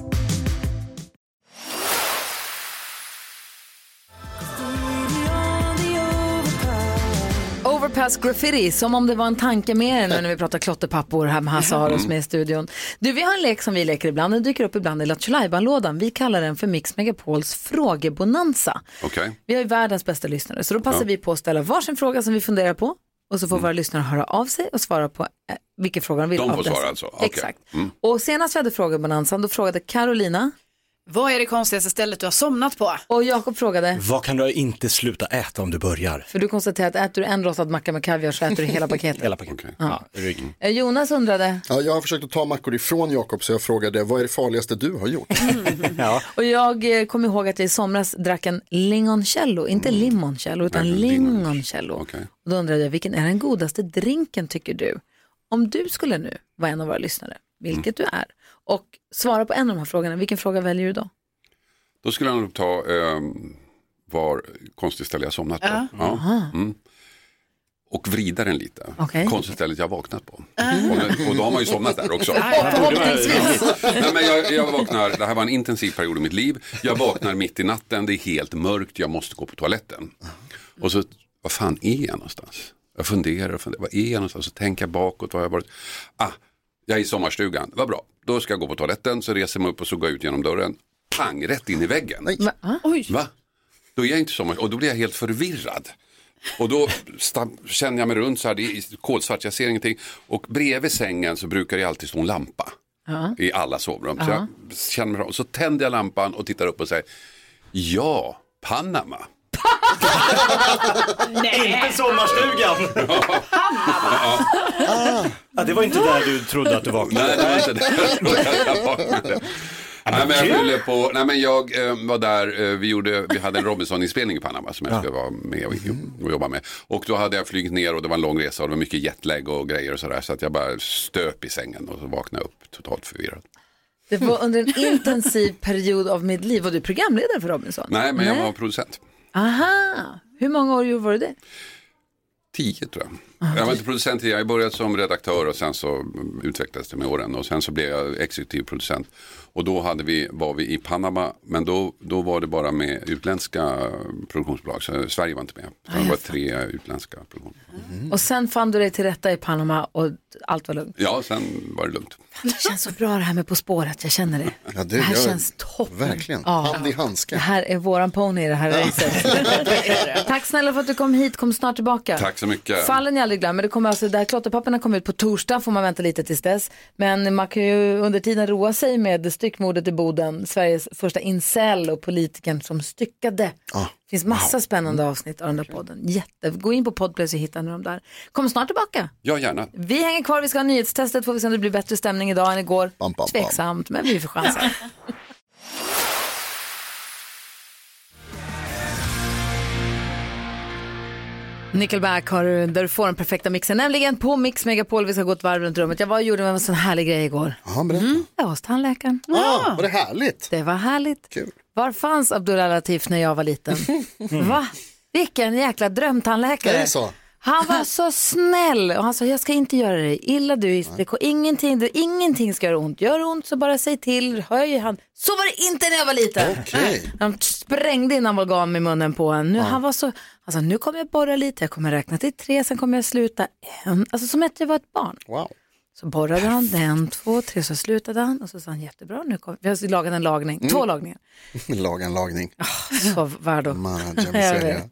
Speaker 1: Overpass Graffiti, som om det var en tanke med det nu när vi pratar klotterpappor här med Hasse Aro som är i studion. Du, vi har en lek som vi leker ibland, den dyker upp ibland i Lattjo lådan Vi kallar den för Mix Megapols frågebonanza.
Speaker 10: Okej,
Speaker 1: Vi har ju världens bästa lyssnare, så då passar
Speaker 10: Ja. Mm.
Speaker 1: vi på att ställa varsin fråga som vi funderar på. Och så får våra lyssnare höra av sig och svara på eh, vilken fråga de vill
Speaker 10: de
Speaker 1: av
Speaker 10: får
Speaker 1: dessa.
Speaker 10: svara alltså. Okej.
Speaker 1: Exakt.
Speaker 10: Mm.
Speaker 1: Och senast vi hade frågebonanzan, då frågade Carolina.
Speaker 4: Vad är det konstigaste stället du har somnat på?
Speaker 1: Och Jakob frågade.
Speaker 3: Vad kan du inte sluta äta om du börjar?
Speaker 1: För du konstaterar att äter du en rostad macka med kaviar så äter du hela paketet.
Speaker 3: Hela paketet.
Speaker 1: Ja.
Speaker 3: Rygg.
Speaker 1: Eh, Jonas undrade,
Speaker 5: Ja, jag har försökt att ta mackor ifrån Jakob så jag frågade vad är det farligaste du har gjort?
Speaker 3: ja.
Speaker 1: och jag eh, kom ihåg att jag i somras drack en lingoncello, inte
Speaker 10: Mm.
Speaker 1: limoncello utan lingoncello. Och då undrade jag, vilken är den godaste drinken tycker du? Om du skulle nu vara en av våra lyssnare, vilket du är, och svara på en av de här frågorna, vilken fråga väljer du då?
Speaker 10: Då skulle jag nog ta eh, var konstigt ställe jag somnat på.
Speaker 1: Ja. Jaha.
Speaker 10: Ja. Mm. Och vrida den lite.
Speaker 1: Okej.
Speaker 10: Konstigt stället jag vaknat på. Och, det- och då har man ju somnat där också.
Speaker 1: Ja, förhoppningsvis.
Speaker 10: Nej, men jag, jag vaknar, det här var en intensiv period i mitt liv. Jag vaknar mitt i natten, det är helt mörkt, jag måste gå på toaletten. Och så, vad fan är jag någonstans? Jag funderar och funderar, vad är jag någonstans? Så tänker jag bakåt, vad har jag varit? Ah, jag är i sommarstugan, vad bra. Då ska jag gå på toaletten, så reser jag mig upp och så går jag ut genom dörren. Pang, rätt in i väggen. Va? Då är jag inte sommar och då blir jag helt förvirrad. Och då stam- känner jag mig runt så här, det är kolsvart, jag ser ingenting. Och bredvid sängen så brukar det alltid stå en lampa
Speaker 12: Ja.
Speaker 10: i alla sovrum. Så,
Speaker 12: Ja.
Speaker 10: jag känner mig, fram. så tänder jag lampan och tittar upp och säger, ja, Panama.
Speaker 3: Inte sommarstugan!
Speaker 10: Ja.
Speaker 3: Ja, det var inte där du trodde att du vaknade.
Speaker 10: Nej, det var inte där jag vaknade. Nej, men jag skyller på, nej men jag eh, var där, eh, vi, gjorde, vi hade en Robinson-inspelning i Panama som jag skulle vara med och, och jobba med. Och då hade jag flugit ner och det var en lång resa och det var mycket jetlag och grejer och sådär. Så att jag bara stöp i sängen och så vaknade jag upp totalt förvirrad.
Speaker 1: Det var under en intensiv period av mitt liv. Var du programledare för Robinson?
Speaker 10: Nej, men jag var producent.
Speaker 1: Aha, hur många år var du det?
Speaker 10: Tio tror jag. Jag var inte producent, tidigare. jag började som redaktör och sen så mm, utvecklades det med åren och sen så blev jag exekutiv producent. Och då hade vi, var vi i Panama, men då, då var det bara med utländska produktionsbolag, så Sverige var inte med. Så det var tre utländska produktionsbolag.
Speaker 1: Och sen fann du dig till rätta i Panama och allt var lugnt.
Speaker 10: Ja, sen var det lugnt.
Speaker 1: Det känns så bra det här med På spåret, jag känner det.
Speaker 5: Ja,
Speaker 1: det, här känns toppen.
Speaker 5: Verkligen,
Speaker 1: Ja.
Speaker 5: hand i
Speaker 1: Det
Speaker 5: handske.
Speaker 1: här är våran pony i det här racet. Tack snälla för att du kom hit, kom snart tillbaka.
Speaker 10: Tack så mycket.
Speaker 1: Fallen jag aldrig glömmer, det kommer alltså, där klotterpapperna kommer ut på torsdag får man vänta lite tills dess. Men man kan ju under tiden roa sig med styckmordet i Boden, Sveriges första incel och politikern som styckade.
Speaker 5: Ah,
Speaker 1: Det finns massa spännande avsnitt av den där podden. Jätte, gå in på Podplay så hittar ni dem där. Kom snart tillbaka.
Speaker 10: Ja, gärna.
Speaker 1: Vi hänger kvar, vi ska ha nyhetstestet, får vi se om det blir bättre stämning idag än igår.
Speaker 10: Bam, bam, bam.
Speaker 1: Tveksamt, men vi får chansa. Nickelback har du, där du får den perfekta mixen, nämligen på Mix Megapol. Vi ska gå ett varv runt rummet. Jag var och gjorde en sån härlig grej igår.
Speaker 5: Ja, berätta.
Speaker 1: Jag var hos tandläkaren.
Speaker 5: Ah, var det härligt?
Speaker 1: Det var härligt. Var fanns Abdullah Latif när jag var liten? Va? Vilken jäkla drömtandläkare.
Speaker 5: Det är så.
Speaker 1: Han var så snäll och han sa jag ska inte göra dig illa, du är SDK, ingenting, du, ingenting ska göra ont. Gör ont så bara säg till, höj hand. Så var det inte när jag var liten.
Speaker 5: Okej.
Speaker 1: Han sprängde in amalgam i munnen på en. Nu, Han var så, han sa nu kommer jag borra lite, jag kommer räkna till tre, sen kommer jag sluta en. Alltså som att jag var ett barn.
Speaker 5: Wow.
Speaker 1: Så borrade han den, två, tre, så slutade han och så sa han jättebra, nu kommer, vi har lagat en lagning, två lagningar.
Speaker 5: Laga en lagning.
Speaker 1: Så var då.
Speaker 5: Manager
Speaker 1: Jag
Speaker 5: Miseria.
Speaker 1: vet.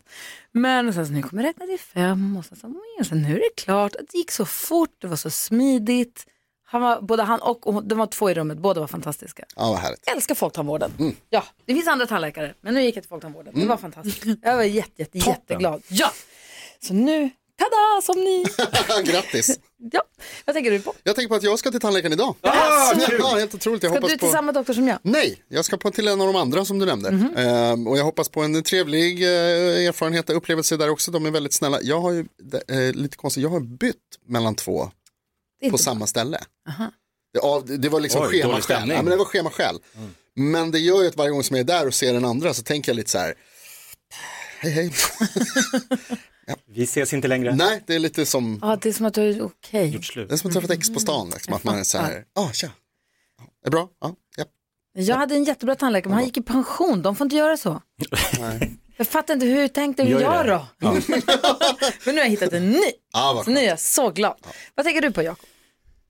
Speaker 1: Men och sen så nu kommer jag räkna till fem och sen så, och sen nu är det klart. Det gick så fort, det var så smidigt. Han var, både han och, och de var två i rummet, båda var fantastiska.
Speaker 5: Ja, vad härligt.
Speaker 1: Jag älskar folktandvården.
Speaker 5: Mm.
Speaker 1: Ja, det finns andra tandläkare, men nu gick jag till folktandvården. Det var fantastiskt. Jag var jätte, jätte, jätteglad. Ja, så nu, tada, som ni.
Speaker 5: Grattis.
Speaker 1: ja, vad tänker du på?
Speaker 5: Jag tänker på att jag ska till tandläkaren idag.
Speaker 1: Ah, kul.
Speaker 5: ja, helt otroligt. Jag
Speaker 1: Ska
Speaker 5: hoppas
Speaker 1: du till
Speaker 5: på...
Speaker 1: samma doktor som jag?
Speaker 5: Nej, jag ska på till en av de andra som du nämnde.
Speaker 1: Mhm.
Speaker 5: Ehm, och jag hoppas på en trevlig eh, erfarenhet och upplevelse där också. De är väldigt snälla. Jag har ju, eh, lite konstigt, jag har bytt mellan två
Speaker 1: Det är
Speaker 5: på
Speaker 1: inte
Speaker 5: samma ställe. Det, ja, det det var liksom
Speaker 3: Oj, dålig
Speaker 5: schemaskäl.
Speaker 3: stämning. Mm.
Speaker 5: Ja, men det var schemaskäl. Men det gör ju att varje gång som jag är där och ser den andra så tänker jag lite så här, hej hej.
Speaker 3: Vi ses inte längre.
Speaker 5: Nej, det är lite som,
Speaker 1: Ja, det är som att du, okej.
Speaker 5: det är som att träffa ett ex på stan. Liksom, att man är så här, ja tja, Ja, är det bra? Ja, ja.
Speaker 1: Jag hade en jättebra tandläkare, men han gick i pension. De får inte göra så.
Speaker 5: Nej.
Speaker 1: Jag fattar inte, hur tänkte du
Speaker 5: Gör ju
Speaker 1: jag
Speaker 5: det.
Speaker 1: då? men nu har jag hittat en ny.
Speaker 5: Ja, vad
Speaker 1: så nu är jag så glad. Vad tänker du på Jakob?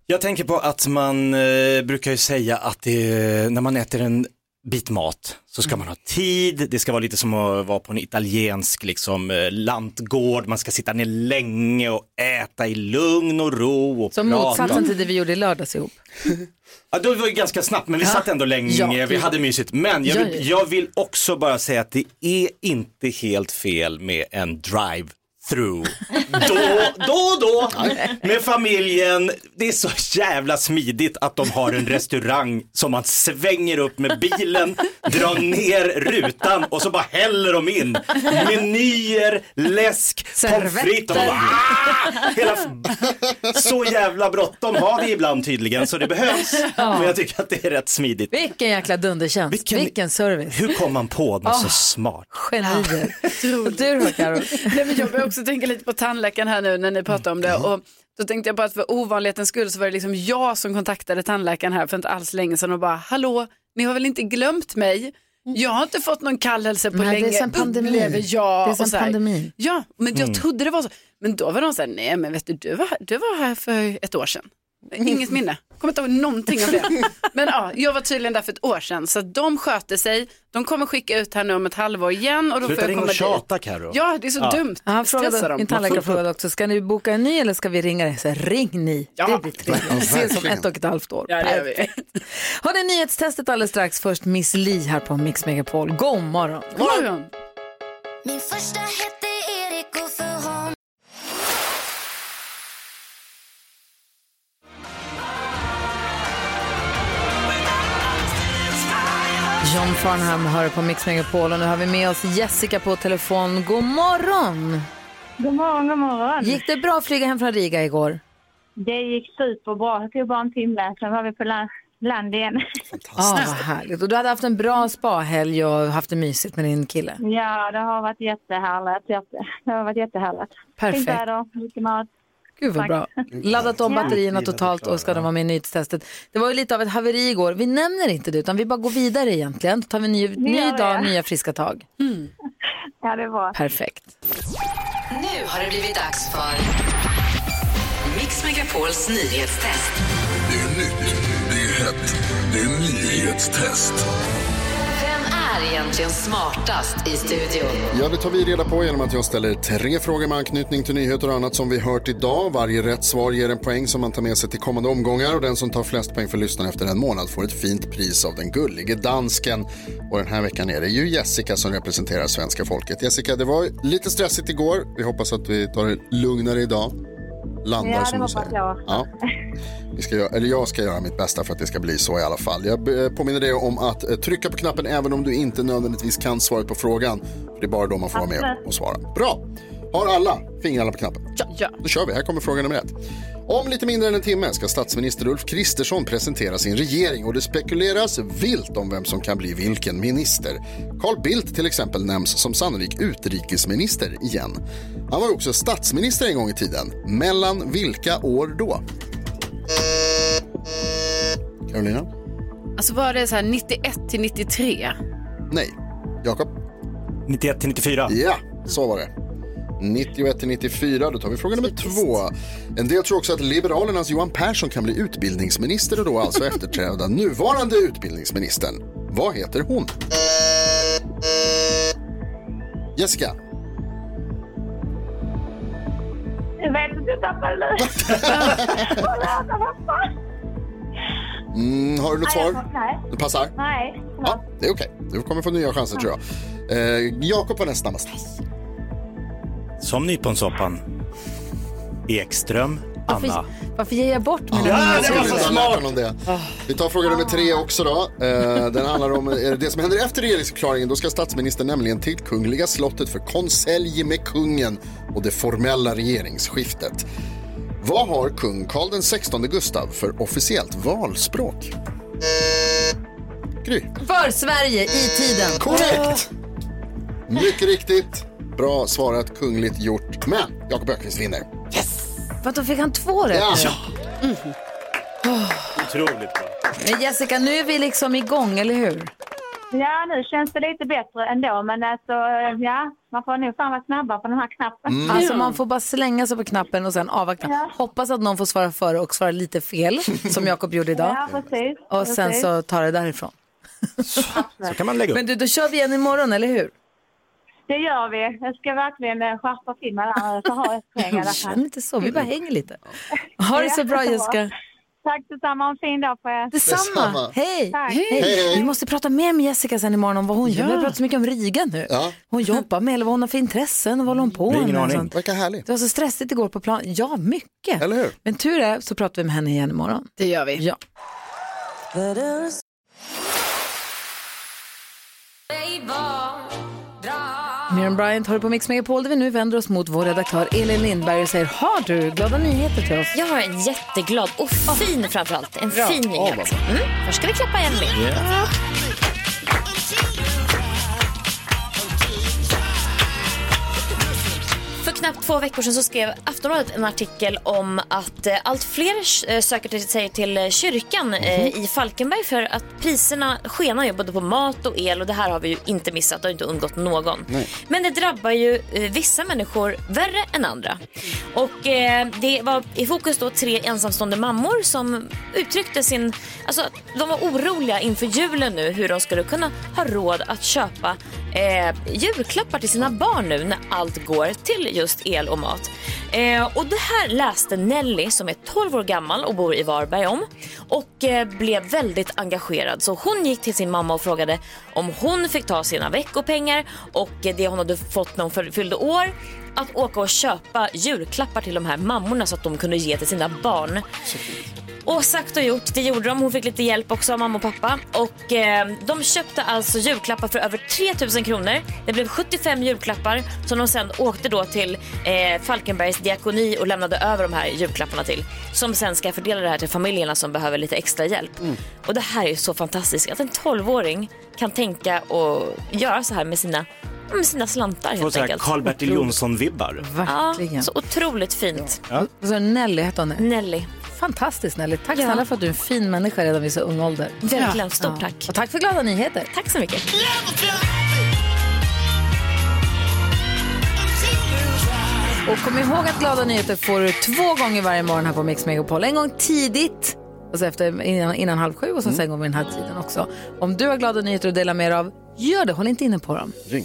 Speaker 3: Jag tänker på att man eh, brukar ju säga att det, när man äter en bit mat så ska man ha tid, det ska vara lite som att vara på en italiensk liksom, eh, lantgård, man ska sitta ner länge och äta i lugn och ro. Och
Speaker 1: Som
Speaker 3: prata.
Speaker 1: motsatsen till det vi gjorde i lördags ihop.
Speaker 3: Ja, då var det ganska snabbt, men vi
Speaker 1: Ja.
Speaker 3: satt ändå länge,
Speaker 1: Ja.
Speaker 3: vi hade mysigt. Men jag
Speaker 1: Ja,
Speaker 3: vill,
Speaker 1: ja.
Speaker 3: jag vill också bara säga att det är inte helt fel med en drive-through. då, då, då, med familjen. Det är så jävla smidigt att de har en restaurang som man svänger upp med bilen, drar ner rutan och så bara häller de in menyer, läsk, pommes frites. Och man bara, "Ah!" Hela så jävla bråttom har vi ibland tydligen så det behövs.
Speaker 1: Ja.
Speaker 3: Men jag tycker att det är rätt smidigt.
Speaker 1: Vilken jäkla dundertjänst, vilken, service.
Speaker 3: Hur kom man på något så
Speaker 1: Ah.
Speaker 3: smart?
Speaker 1: Genier. Och du då Karo?
Speaker 4: Nej, men jag börjar också tänka lite på tandläkaren här nu när ni pratar om
Speaker 1: Mm.
Speaker 4: det. Och då tänkte jag bara att för ovanlighetens skull så var det liksom jag som kontaktade tandläkaren här för inte alls länge sedan och bara, hallå, ni har väl inte glömt mig? Jag har inte fått någon kallhälsa på
Speaker 1: Mm. Nej, det är
Speaker 4: länge.
Speaker 1: sen pandemin.
Speaker 4: Upplever jag.
Speaker 1: Det är sen
Speaker 4: och så här.
Speaker 1: pandemin.
Speaker 4: Ja, men jag
Speaker 1: Mm.
Speaker 4: trodde det var så. Men då var de så här, nej men vet du, du var, du var här för ett år sedan. Inget minne. Kommer inte ihåg någonting av det. Men ja, jag var tydligen där för ett år sedan. Så att de sköter sig. De kommer skicka ut här nu om ett halvår igen. Och då
Speaker 3: Sluta
Speaker 4: får jag
Speaker 3: ringa
Speaker 4: komma
Speaker 3: och tjata
Speaker 4: dit.
Speaker 3: Karo.
Speaker 4: Ja, det är så dumt.
Speaker 1: Han
Speaker 4: Stressar
Speaker 1: frågade,
Speaker 4: dem.
Speaker 1: min tandläkare frågade också, ska ni boka en ny eller ska vi ringa dig? Så här, ring ni, det blir trevligt. Vi ses om
Speaker 4: verkligen.
Speaker 1: ett och ett halvt år.
Speaker 4: Ja, det gör vi.
Speaker 1: Perfekt. Har ni nyhetstestet alldeles strax? Först Miss Li här på Mix Megapol. God morgon.
Speaker 13: Min första hette Erik och för honom
Speaker 1: John Farnham hör på Mix Megapol och nu har vi med oss Jessica på telefon. God morgon!
Speaker 14: God morgon, god morgon.
Speaker 1: Gick det bra att flyga hem från Riga igår?
Speaker 14: Det gick superbra. Det tog bara en timme, sen var vi på land, land igen.
Speaker 1: Ja, vad härligt. Och du hade haft en bra spahelg och haft det mysigt med din kille.
Speaker 14: Ja, det har varit jättehärligt. jätte- Det har varit jättehärligt.
Speaker 1: Perfekt.
Speaker 14: Fint väder, mycket mat.
Speaker 1: Gud vad
Speaker 14: Tack.
Speaker 1: bra. Laddat om
Speaker 14: Ja.
Speaker 1: batterierna totalt och ska de vara med i nyhetstestet. Det var ju lite av ett haveri igår. Vi nämner inte det utan vi bara går vidare egentligen. Då tar vi Mm. en ny, ny
Speaker 14: gör det.
Speaker 1: dag, nya friska tag.
Speaker 14: Ja, det var.
Speaker 1: Perfekt.
Speaker 2: Nu har det blivit dags för Mix Megapols nyhetstest.
Speaker 15: Det är nytt, det är hett, det är nyhetstest.
Speaker 2: Vem är egentligen smartast i studion?
Speaker 5: Ja, det tar vi reda på genom att jag ställer tre frågor med anknytning till nyheter och annat som vi hört idag. Varje rätt svar ger en poäng som man tar med sig till kommande omgångar och den som tar flest poäng för lyssnaren efter en månad får ett fint pris av den gullige dansken. Och den här veckan är det ju Jessica som representerar svenska folket. Jessica, det var lite stressigt igår. Vi hoppas att vi tar det lugnare idag. Landar
Speaker 14: Ja, det
Speaker 5: som du
Speaker 14: hoppas
Speaker 5: säger.
Speaker 14: jag.
Speaker 5: Ja. Vi ska, göra- eller jag ska göra mitt bästa för att det ska bli så i alla fall. Jag eh, påminner dig om att eh, trycka på knappen även om du inte nödvändigtvis kan svaret på frågan. För det är bara då man får vara med och svara. Bra! Har alla fingrarna på knappen?
Speaker 4: Ja.
Speaker 5: Då kör vi, här kommer fråga nummer ett. Om lite mindre än en timme ska statsminister Ulf Kristersson presentera sin regering och det spekuleras vilt om vem som kan bli vilken minister. Carl Bildt till exempel nämns som sannolik utrikesminister igen. Han var ju också statsminister en gång i tiden. Mellan vilka år då? Carolina?
Speaker 4: Alltså var det så här 91 till 93?
Speaker 5: Nej. Jakob?
Speaker 3: 91 till 94.
Speaker 5: Ja, så var det. 91 till 94, då tar vi fråga nummer två. En del tror också att Liberalernas Johan Persson kan bli utbildningsminister och då alltså efterträda nuvarande utbildningsministern. Vad heter hon? Jessica.
Speaker 9: Jag vet inte, jag tappade det.
Speaker 5: Mm, har du något svar?
Speaker 9: Nej.
Speaker 5: Det passar?
Speaker 9: Nej.
Speaker 5: Ja, det är okej. Du kommer få nya chanser tror jag. Eh, Jakob var näst snabbast.
Speaker 3: Som nyponsoppan. Ekström, Anna.
Speaker 1: Varför, varför ger jag bort mina
Speaker 5: Ja, det var
Speaker 1: nyheter?
Speaker 5: så smart! Ah. Om det. Vi tar fråga nummer tre också då. Eh, Den handlar om eh, det som händer efter regeringsförklaringen. Då ska statsministern nämligen till Kungliga slottet för konselj med kungen och det formella regeringsskiftet. Vad har kung Carl den 16 Gustav för officiellt valspråk? Gry.
Speaker 1: För Sverige i tiden.
Speaker 5: Korrekt! Mycket riktigt. Bra svarat, kungligt gjort. Men Jakob Öqvist vinner.
Speaker 1: Vadå, fick han två rätt
Speaker 5: Ja.
Speaker 1: nu? Åh,
Speaker 3: Otroligt bra.
Speaker 1: Men Jessica, nu är vi liksom igång, eller hur?
Speaker 14: Ja, nu känns det lite bättre ändå, men alltså, ja, man får nog fan vara snabbare på den här knappen.
Speaker 1: Alltså man får bara slänga sig på knappen och sen avvakta. Hoppas att någon får svara före och svara lite fel, som Jakob gjorde idag.
Speaker 14: Ja, precis.
Speaker 1: Och sen
Speaker 14: precis.
Speaker 1: så tar det därifrån.
Speaker 3: Så kan man lägga upp.
Speaker 1: Men du, då kör vi igen imorgon, eller hur?
Speaker 14: Det gör vi. Jag ska verkligen eh, skärpa till mig där, så har jag ett poäng i alla
Speaker 1: Känn
Speaker 14: fall.
Speaker 1: inte så, vi bara hänger lite. Ha det så bra,
Speaker 14: Mm. Ja,
Speaker 1: Jessica.
Speaker 14: Tack detsamma, ha en fin dag på er.
Speaker 1: Detsamma. Hej.
Speaker 14: Tack.
Speaker 1: Hej. Vi måste prata mer med Jessica sen imorgon om vad hon gör. Vi har pratat så mycket om Riga nu. Hon jobbar med, eller vad hon har för intressen och vad hon håller på
Speaker 5: Vi har ingen
Speaker 1: med. och
Speaker 5: aning.
Speaker 1: sånt.
Speaker 5: Verkar härligt.
Speaker 1: Det var så stressigt igår på plan. Ja, mycket.
Speaker 5: Eller hur?
Speaker 1: Men tur är så pratar vi med henne igen imorgon.
Speaker 4: Det gör vi.
Speaker 1: Ja. Miriam Bryant har på Mix Megapol där vi nu vänder oss mot vår redaktör Elin Lindberg och säger Har du glada nyheter till oss?
Speaker 6: Jag har en jätteglad och fin framförallt. En
Speaker 1: Bra.
Speaker 6: fin
Speaker 1: Ja, vad
Speaker 6: nyhet.
Speaker 1: bra.
Speaker 6: Mm. Först ska vi klappa en med. För knappt två veckor sedan så skrev Aftonbladet en artikel om att eh, allt fler eh, söker till sig till eh, kyrkan eh, i Falkenberg för att priserna skenar ju både på mat och el och det här har vi ju inte missat, det har inte undgått någon.
Speaker 13: Nej.
Speaker 6: Men det drabbar ju eh, vissa människor värre än andra. Och eh, det var i fokus då tre ensamstående mammor som uttryckte sin, alltså de var oroliga inför julen nu hur de skulle kunna ha råd att köpa eh, julklappar till sina barn nu när allt går till just el och mat. Eh, och det här läste Nelly som är 12 år gammal och bor i Varberg om och eh, blev väldigt engagerad. Så hon gick till sin mamma och frågade om hon fick ta sina veckopengar och eh, det hon hade fått när hon fyll- fyllde år att åka och köpa julklappar till de här mammorna så att de kunde ge till sina barn. Och sagt och gjort, det gjorde de. Hon fick lite hjälp också av mamma och pappa. Och eh, de köpte alltså julklappar för över 3000 kronor. Det blev 75 julklappar som de sen åkte då till eh, Falkenbergs diakoni och lämnade över de här julklapparna till. Som sen ska fördela det här till familjerna som behöver lite extra hjälp.
Speaker 3: Mm.
Speaker 6: Och det här är ju så fantastiskt att en 12-åring kan tänka och göra så här med sina, med sina slantar
Speaker 3: Får
Speaker 6: helt
Speaker 3: så här
Speaker 6: enkelt.
Speaker 3: Karl-Bertil Jonsson-vibbar.
Speaker 6: Ja, så otroligt fint.
Speaker 3: Ja.
Speaker 1: Vad sa du, Nelly hette hon?
Speaker 6: Nelly.
Speaker 1: Fantastiskt Nelly. Tack
Speaker 6: Ja.
Speaker 1: snälla för att du är en fin människa redan vid så ung ålder.
Speaker 6: Verkligen, stort tack.
Speaker 1: Och tack för glada nyheter.
Speaker 6: Tack så mycket.
Speaker 1: Och kom ihåg att glada nyheter får du två gånger varje morgon här på Mix Megapol. En gång tidigt, alltså efter, innan, innan halv sju och sen, sen går vi den här tiden också. Om du har glada nyheter att dela med dig av, gör det. Håll inte inne på dem.
Speaker 5: Ring.